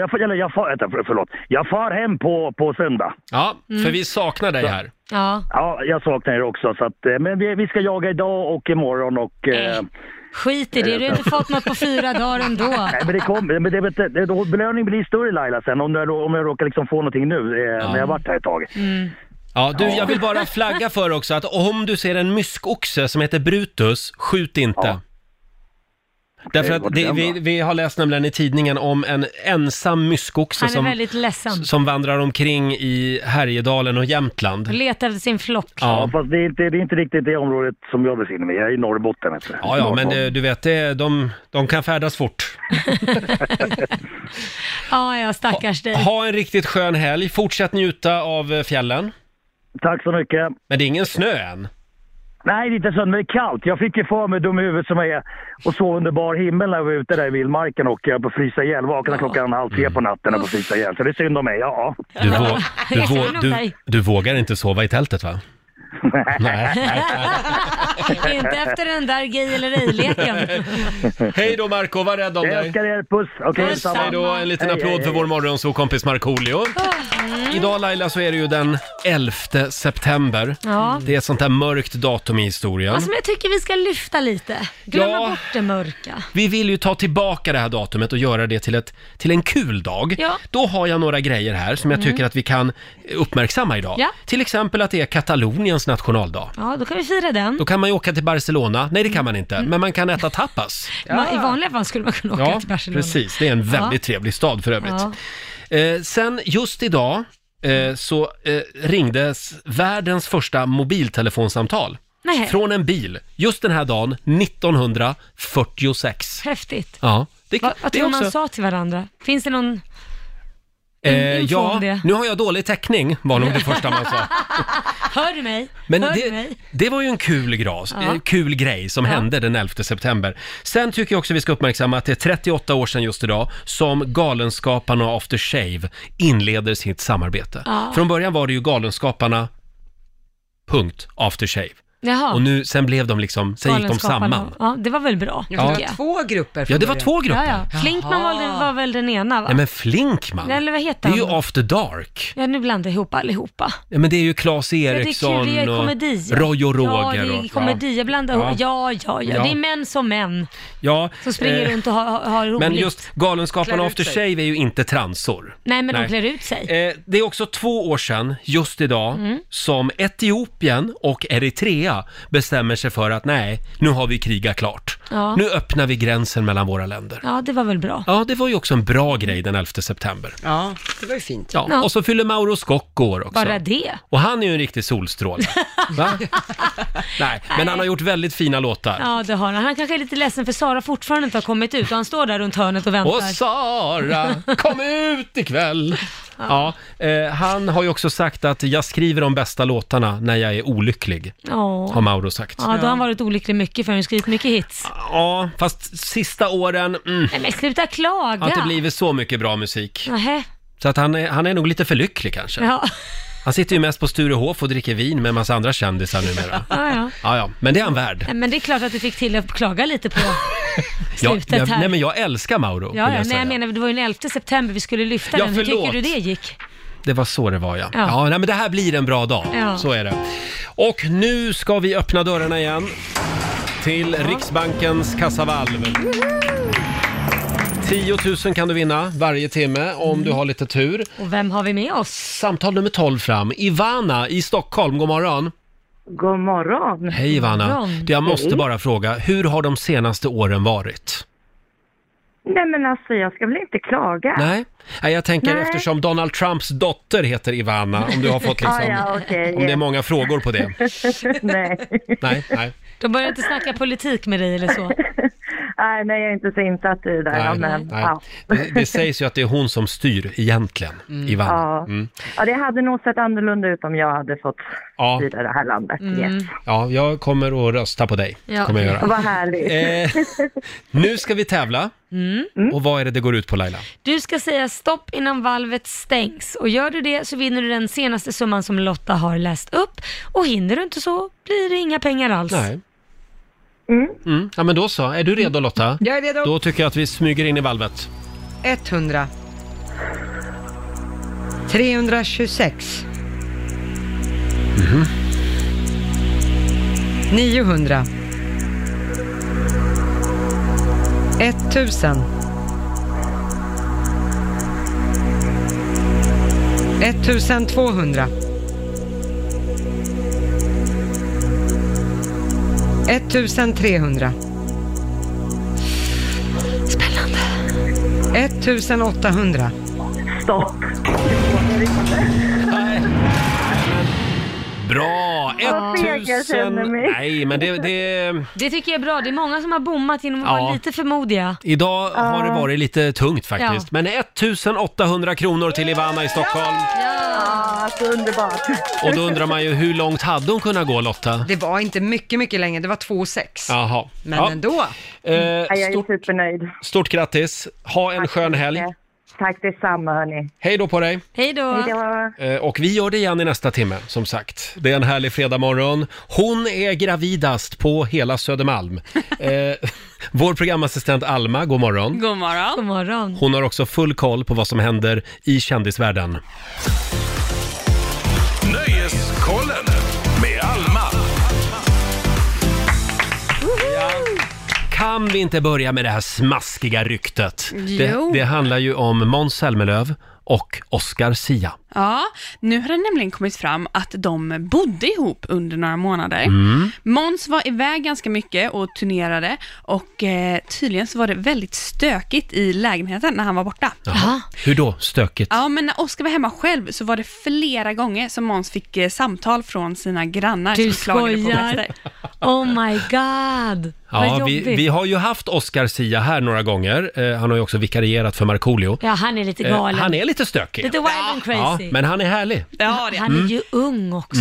Jag, får- eller jag far, vänta, för- förlåt. Jag far hem på, på söndag. Ja, Mm. för vi saknar dig här. Ja. Ja, jag saknar er också. Så att, eh, men vi, vi ska jaga idag och imorgon och... Eh, Mm. Skit i det, du har inte fått något på fyra dagar ändå. Nej, men det kommer. Men det, vet du, det, då- belöningen blir större Laila sen om jag, om jag råkar liksom få någonting nu eh, när jag varit här ett tag. Mm. Ja, du, Ja. jag vill bara flagga för också att om du ser en myskoxe som heter Brutus, skjut inte. Därför Okej, att vart det, är Eh, den vi, vi har läst nämligen i tidningen om en ensam myskoxe Han är som, väldigt ledsen. som vandrar omkring i Härjedalen och Jämtland. Letar efter sin flock. Ja. fast det är, inte, det är inte riktigt det området som jag befinner mig i. Jag är i Norrbotten. vet du. Ja, ja, men eh, du vet, det, de, de kan färdas fort. Ja, ja, stackars dig. Ha en riktigt skön helg, fortsätt njuta av eh, fjällen. Tack så mycket. Men det är ingen snö än. Nej, det är inte så, men det är kallt. Jag fick ju för mig, dum i huvudet som jag är, och så under bar himmel när jag var ute där i vildmarken och jag på att frysa ihjäl. Vaknade klockan halv tre på natten och på att frysa ihjäl. Så det är synd om mig, ja. Du, vå- du, vå- du, du vågar inte sova i tältet va? Nej. inte efter den där gay eller ej-leken. Hej då Marco, var rädd om dig. Jag älskar er, puss. Okej, Puss, detsamma. hej då. En liten Hej, applåd hej, för hej. vår morgonsåkompis Markoolio. Mm. Idag Laila så är det ju den 11 september. Ja. Det är ett sånt där mörkt datum i historien. Alltså, men jag tycker vi ska lyfta lite. Glömma Ja. bort det mörka. Vi vill ju ta tillbaka det här datumet och göra det till, ett, till en kul dag. Ja. Då har jag några grejer här som jag Mm. tycker att vi kan uppmärksamma idag. Ja. Mm. Till exempel att det är Kataloniens nationaldag. Ja, då kan vi fira den. Då kan man ju åka till Barcelona. Nej, det kan Mm. man inte, men man kan äta tapas. Man, I vanliga fall skulle man kunna åka Ja, till Barcelona. precis. Det är en väldigt Ja. trevlig stad för övrigt. Ja. Eh, sen just idag eh, så eh, ringdes världens första mobiltelefonsamtal. Nej. Från en bil, just den här dagen, 1946. Häftigt. Ja, det, Vad, vad det tror är man sa till varandra? Finns det någon... Eh, info ja, om det? nu har jag dålig täckning, var nog det första man sa. Hör du mig? Men Hör du det, mig? det var ju en kul, gras, Ja. eh, kul grej som Ja. hände den 11 september. Sen tycker jag också vi ska uppmärksamma att det är 38 år sedan just idag som Galenskaparna och After Shave inleder sitt samarbete. Ja. Från början var det ju Galenskaparna, punkt, After Shave. Jaha. Och nu, sen blev de liksom, sen gick de Galenskaparna. samman. Ja, det var väl bra. Ja, för det tycker var jag. Två grupper. Ja, det var två grupper. Ja, ja. Flinkman var, den- var väl den ena va? Nej men Flinkman, Eller vad heter det är ju han? After Dark. Ja, nu blandar jag ihop allihopa. Ja, men det är ju Claes ja, det Eriksson är och komedi. ja. Roy och Roger. Ja, det och- är komedi. Jag blandar ihop. Ja, ja, ja. Ja. Det är män som män Ja, som springer eh, runt och har, har- har roligt. Men just Galenskaparna Klär och ut After sig. Shave är ju inte transor. Nej, men de klär ut sig. Eh, det är också två år sedan, just idag, Mm. som Etiopien och Eritrea bestämmer sig för att nej, nu har vi krigat klart. Ja. Nu öppnar vi gränsen mellan våra länder. Ja, det var väl bra. Ja, det var ju också en bra grej den 11 september. Ja, det var ju fint. Ja, Mm. Ja. Och så fyller Mauro Scocco år också. Bara det. Och han är ju en riktig solstråle. Va? Nej, men han har gjort väldigt fina låtar. Ja, det har han. Han kanske är lite ledsen för Sara fortfarande inte har kommit ut och han står där runt hörnet och väntar. Och Sara, kom ut ikväll! Ja, eh, han har ju också sagt att jag skriver de bästa låtarna när jag är olycklig, Ja. har Mauro sagt. Ja, då har han varit olycklig mycket för han har skrivit mycket hits. Ja, fast sista åren, mm, Nej, men sluta har inte klaga! blivit så mycket bra musik. Nähä. Så att han är, han är nog lite för lycklig kanske. Ja. Han sitter ju mest på Sturehof och dricker vin med en massa andra kändisar numera. Ja, ja. Ja, ja, men det är han värd. Nej, Men det är klart att du fick till att klaga lite på... Jag, Slutet jag, här. nej, men jag älskar Mauro, Ja, vill ja. jag Nej, säga. jag menar, det var ju den 11 september vi skulle lyfta Ja, den. Hur tycker förlåt. du det gick? Det var så det var ja. ja. Ja. nej, men det här blir en bra dag, Ja. så är det. Och nu ska vi öppna dörrarna igen till Riksbankens kassavalv. 10 000 kan du vinna varje timme om du har lite tur. Och vem har vi med oss? Samtal nummer 12 fram. Ivana i Stockholm, god morgon. God morgon. Hej Ivana. morgon. Du, Jag måste Hej. bara fråga, hur har de senaste åren varit? Nej men alltså jag ska väl inte klaga. Nej, Nej jag tänker Nej. eftersom Donald Trumps dotter heter Ivana, om du har fått liksom, Ja, ja, okej. om det är många frågor på det. nej. Nej, nej. De börjar inte snacka politik med dig eller så? nej, nej, jag är inte så insatt i det. Nej, ja, men, nej. Ja. Det, det sägs ju att det är hon som styr egentligen, Ivana. Ja. Mm. ja, det hade nog sett annorlunda ut om jag hade fått Ja. styra det här landet. Mm. Yes. ja, jag kommer att rösta på dig. Kommer jag göra. Vad härligt. Eh, nu ska vi tävla. Mm. Och vad är det det går ut på Laila? Du ska säga stopp innan valvet stängs och gör du det så vinner du den senaste summan som Lotta har läst upp och hinner du inte så blir det inga pengar alls. Nej. Mm. Ja, men då så. Är du redo Lotta? Jag är redo. Då tycker jag att vi smyger in i valvet. 100. 326. 900. 1000. 1200. 1300. Spännande. 1800. Stopp. Bra! Vad feg jag 1000... känner mig. Nej, men det... det... Det tycker jag är bra. Det är många som har bommat genom att Ja. vara lite för modiga. Idag har det Ja. varit lite tungt faktiskt. Ja. Men 1800 kronor till Ivana i Stockholm. Ja, Ah, så underbart. Och då undrar man ju, hur långt hade hon kunnat gå Lotta? Det var inte mycket, mycket längre. Det var 2 6. Jaha. Men Ja. ändå. Mm. Eh, jag är stort, supernöjd. stort grattis! Ha en skön helg! Tack detsamma hörni. Hej då på dig! Hej då. Eh, Och vi gör det igen i nästa timme, som sagt. Det är en härlig fredagmorgon. Hon är gravidast på hela Södermalm. Eh, vår programassistent Alma, god morgon. God morgon. God morgon. Hon har också full koll på vad som händer i kändisvärlden. Nöjeskollen med Alma. Kan vi inte börja med det här smaskiga ryktet? Det, Jo. det handlar ju om Måns Zelmerlöw och Oscar Sia. Ah. Ja, nu har det nämligen kommit fram att de bodde ihop under några månader. Mm. Måns var iväg ganska mycket och turnerade och eh, tydligen så var det väldigt stökigt i lägenheten när han var borta. Jaha. Hur då? Stökigt? Ja, men när Oskar var hemma själv så var det flera gånger som Måns fick eh, samtal från sina grannar Du som klagade på skojar. brister. Oh my god. Vad Ja, vi, jobbigt. vi har ju haft Oscar Sia här några gånger. Eh, han har ju också vikarierat för Markoolio. Ja, han är lite Eh, galen. han är lite stökig. Lite wild and Ja, crazy. men han är härlig. Ja, det. Han är ju ung också.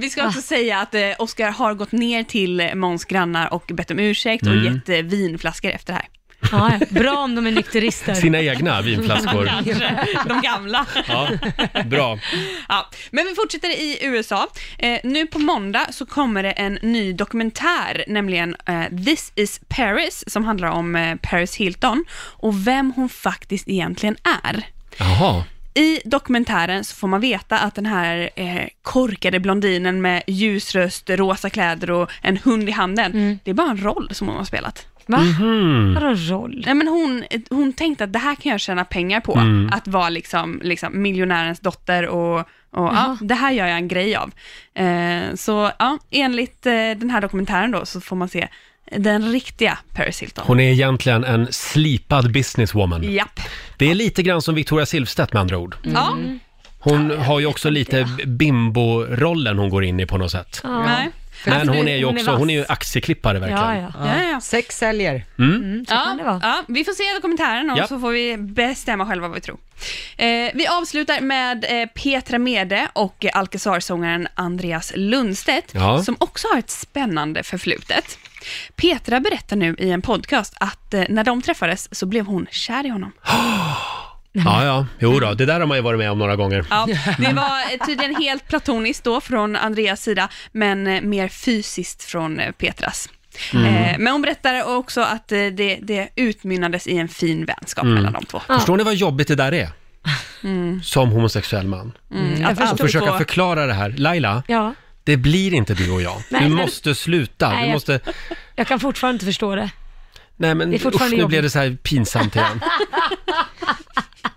Vi ska också säga att eh, Oskar har gått ner till eh, Måns grannar och bett om ursäkt och Mm. gett eh, vinflaskor efter det här. Ja, bra om de är nykterister. Sina egna vinflaskor. Kanske. De gamla. Ja, bra. Ja, men vi fortsätter i USA. Eh, nu på måndag så kommer det en ny dokumentär, nämligen eh, This is Paris, som handlar om eh, Paris Hilton och vem hon faktiskt egentligen är. Jaha. I dokumentären så får man veta att den här eh, korkade blondinen med ljus röst, rosa kläder och en hund i handen, det är bara en roll som hon har spelat. Mm. Va? Mhm. Vadå roll? Nej, men hon, hon tänkte att det här kan jag tjäna pengar på, Mm. att vara liksom, liksom miljonärens dotter och, och ja, Jaha. det här gör jag en grej av. Eh, så ja, enligt eh, den här dokumentären då så får man se den riktiga Paris Hilton. Hon är egentligen en slipad businesswoman. Japp. Det är lite grann som Victoria Silvstedt med andra ord. Ja. Mm. Hon har ju också lite bimbo-rollen hon går in i på något sätt. Ja. Nej. Men Alltså, hon du- är ju hon är också, hon är ju vass. aktieklippare verkligen. Ja, ja. Sex säljer. Mm. ja, ja, vi får se dokumentären och Ja. så får vi bestämma själva vad vi tror. Eh, vi avslutar med eh, Petra Mede och eh, Alcazar-sångaren Andreas Lundstedt, Ja. som också har ett spännande förflutet. Petra berättar nu i en podcast att eh, när de träffades så blev hon kär i honom. Ja, ja, jo då, det där har man ju varit med om några gånger. Ja, det var eh, tydligen helt platoniskt då från Andreas sida, men eh, mer fysiskt från eh, Petras. Mm. Eh, Men hon berättar också att eh, det, det utmynnades i en fin vänskap mellan de två. Mm. Förstår ni vad jobbigt det där är? Mm. Som homosexuell man. Mm, Jag att förstår. Att försöka två- förklara det här. Laila, Ja, det blir inte du och jag. Nej, Du men- måste sluta. Nej, Du jag- måste... jag kan fortfarande inte förstå det. Nej men Det är usch, fortfarande nu blev jobbigt. det så här pinsamt igen.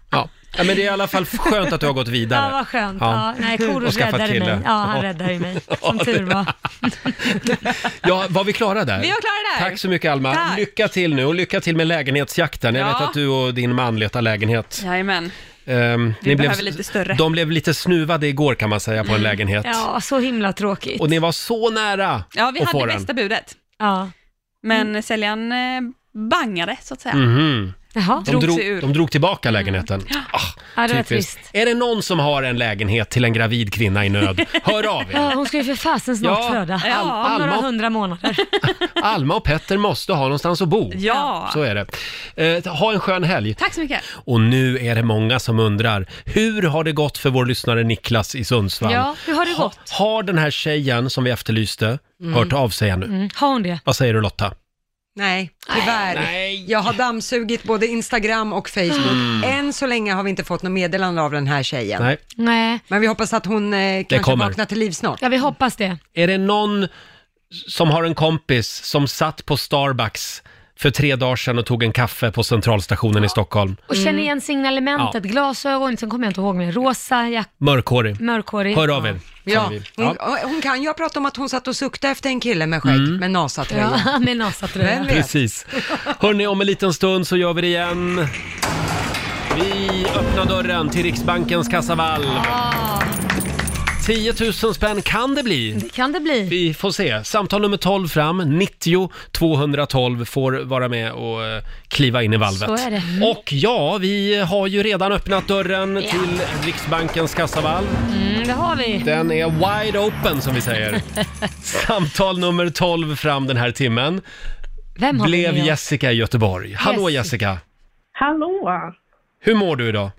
Ja. ja, men det är i alla fall skönt att du har gått vidare. Ja, vad skönt. Ja. Nej, Korosh Och skaffat räddade kille. mig. Ja, han räddade ju mig. Som tur var. Ja, var vi klara där? Vi var klara där. Tack så mycket Alma. Tack. Lycka till nu och lycka till med lägenhetsjakten. Jag Ja. vet att du och din man letar lägenhet. Jajamän. Ehm, Vi behöver lite större. De blev lite snuvade igår kan man säga Mm. på en lägenhet. Ja, så himla tråkigt. Och ni var så nära Ja, vi att få hade den. bästa budet. Ja. Men säljaren eh, bangade, så att säga. Mhm. Jaha. De, Drog sig drog, ur. Mm. de drog tillbaka lägenheten. Ah, Ja, det var typiskt. trist. Är det någon som har en lägenhet till en gravid kvinna i nöd? Hör av er. Ja, hon ska ju för fasen snart Ja, föda. Al- Om några Alma. hundra månader. Alma och Petter måste ha någonstans att bo. Ja. Så är det. Eh, ha en skön helg. Tack så mycket. Och nu är det många som undrar, hur har det gått för vår lyssnare Niklas i Sundsvall? Ja, hur har det gått? Har den här tjejen som vi efterlyste Mm. hört av sig ännu? Mm. Har hon det? Vad säger du Lotta? Nej, tyvärr. Nej. Jag har dammsugit både Instagram och Facebook. Mm. Än så länge har vi inte fått något meddelande av den här tjejen. Nej. Nej. Men vi hoppas att hon eh, kanske kommer. vaknar till liv snart. Ja, vi hoppas det. Är det någon som har en kompis som satt på Starbucks för tre dagar sedan och tog en kaffe på centralstationen i Stockholm? Och känner igen signalementet, Ja. glasögon, sen kommer jag inte ihåg mer, rosa jacka, Mm. Mörkhårig. mörkhårig. Mm. Hör av er. Ja, säger vi. hon, hon kan ju ha pratat om att hon satt och suktade efter en kille med skägg, Mm. med NASA-tröja. Ja, med Vem nasatröja. vet? Precis. Hörni, om en liten stund så gör vi det igen. Vi öppnar dörren till Riksbankens kassavalv. 10 000 spänn kan det bli. Det kan det bli. Vi får se. Samtal nummer 12 fram, 90 212 får vara med och eh, kliva in i valvet. Så är det. Mm. Och ja, vi har ju redan öppnat dörren till Riksbankens kassavalv. Mm, det har vi. Den är wide open som vi säger. Samtal nummer 12 fram den här timmen Vem har vi blev med oss? Jessica i Göteborg. Hallå Yes. Jessica! Hallå! Hur mår du idag?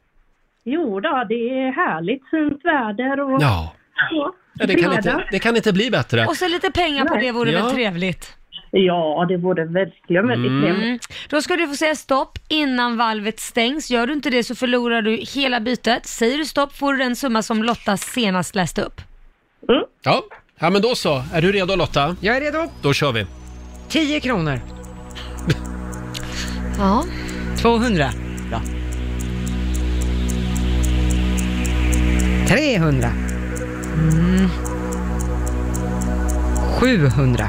Jo då, det är härligt fint väder och... Ja. Ja, det, kan inte, det kan inte bli bättre. Och så lite pengar på Nej. det vore Ja. väl trevligt? Ja, det vore verkligen väldigt Mm. trevligt. Då ska du få säga stopp innan valvet stängs. Gör du inte det så förlorar du hela bytet. Säger du stopp får du den summa som Lotta senast läste upp. Ja. ja, men då så. Är du redo Lotta? Mm. Jag är redo. Då kör vi. 10 kronor. Ja. 200. Ja. 300. Mm. 700.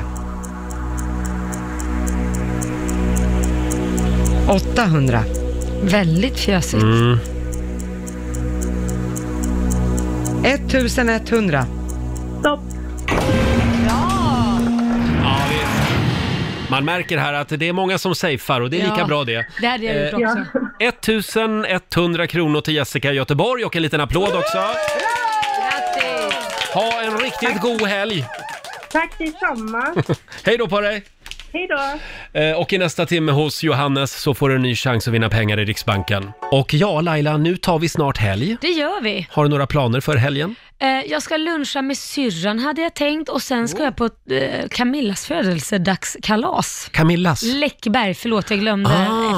800. Väldigt fjösigt. Mm. 1100. Stopp. Ja! Ja, visst. Man märker här att det är många som safear och det är Ja. lika bra det. Det hade jag gjort Eh, också. 1100 kronor till Jessica i Göteborg och en liten applåd också. Grattis! Ha en riktigt god helg! Tack detsamma. Hej då på dig! Hej då! Eh, Och i nästa timme hos Johannes så får du en ny chans att vinna pengar i Riksbanken. Och ja, Laila, nu tar vi snart helg. Det gör vi. Har du några planer för helgen? Eh, jag ska luncha med syrran hade jag tänkt och sen Oh. ska jag på eh, Camillas födelsedagskalas. Camillas? Ah. Läckberg, förlåt jag glömde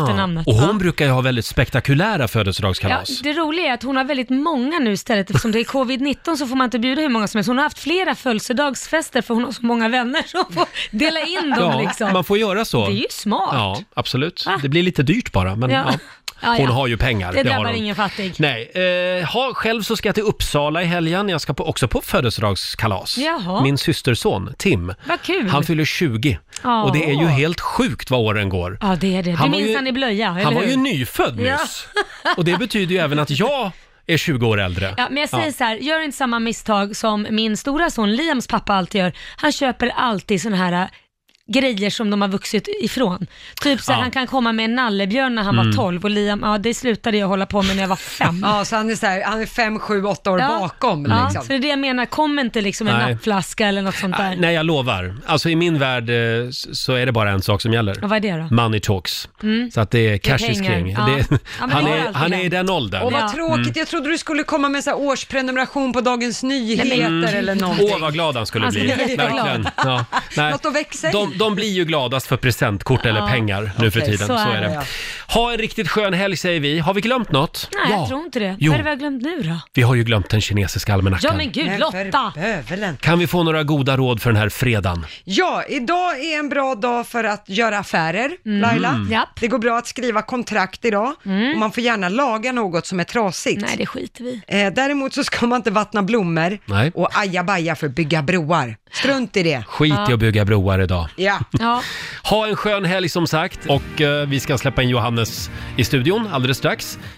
efternamnet. Och Ja. hon brukar ju ha väldigt spektakulära födelsedagskalas. Ja, det roliga är att hon har väldigt många nu istället. Eftersom det är covid-19 så får man inte bjuda hur många som helst. Hon har haft flera födelsedagsfester för hon har så många vänner som får dela in dem Ja, liksom. man får göra så. Det är ju smart. Ja, absolut. Det blir lite dyrt bara, men ja. Ja, ja. Hon har ju pengar. Det har drabbar hon. ingen fattig. Nej, eh, ha, själv så ska jag till Uppsala i helgen. Jag ska på, också på födelsedagskalas. Jaha. Min systerson Tim, Vad kul. han fyller 20. Ja. Och det är ju helt sjukt vad åren går. Ja, det är det. Han du var minns ju- han i blöja, han var hur? ju nyfödd nyss. Och det betyder ju även att jag är 20 år äldre. Ja, men jag säger Ja. så här, gör inte samma misstag som min stora son Liams pappa alltid gör. Han köper alltid såna här äh, grejer som de har vuxit ifrån. Typ så här, Ja. han kan komma med en nallebjörn när han Mm. var 12 och Liam, ja det slutade jag hålla på med när jag var 5. Ja, så han är, så här, han är fem, sju, åtta år bakom. Ja, Liksom. så det är det jag menar, kom inte liksom en Nej. nappflaska eller något sånt där. Nej, jag lovar. Alltså i min värld eh, s- så är det bara en sak som gäller. Och vad är det då? Money talks. Mm. Så att det är Eh, cash is pengar. king. Ja. Det, Ja, men han, det går är, alltid han är i det. den åldern. Åh, vad tråkigt. Mm. Jag trodde du skulle komma med så här årsprenumeration på Dagens Nyheter eller någonting. Mm. Åh, vad glad han skulle Han Alltså, bli. skulle bli jätteglad. Verkligen. Ja. Nej. Något att växa i. De, de blir ju gladast för presentkort eller Ja. pengar nu för Okej, tiden. så Så är är det, det. ja. Ha en riktigt skön helg säger vi. Har vi glömt något? Nej, jag tror inte det. Jo. Vad är det vi har glömt nu då? Vi har ju glömt den kinesiska almanackan. Ja men gud, Lotta! Kan vi få några goda råd för den här fredagen? Ja, idag är en bra dag för att göra affärer, Laila. Mm. Det går bra att skriva kontrakt idag och man får gärna laga något som är trasigt. Mm. Nej, det skiter vi eh, Däremot så ska man inte vattna blommor Nej. och ajabaja för att bygga broar. Strunt i det. Skit i att bygga broar idag. Ja. ja. Ha en skön helg som sagt och eh, vi ska släppa in Johannes i studion alldeles strax.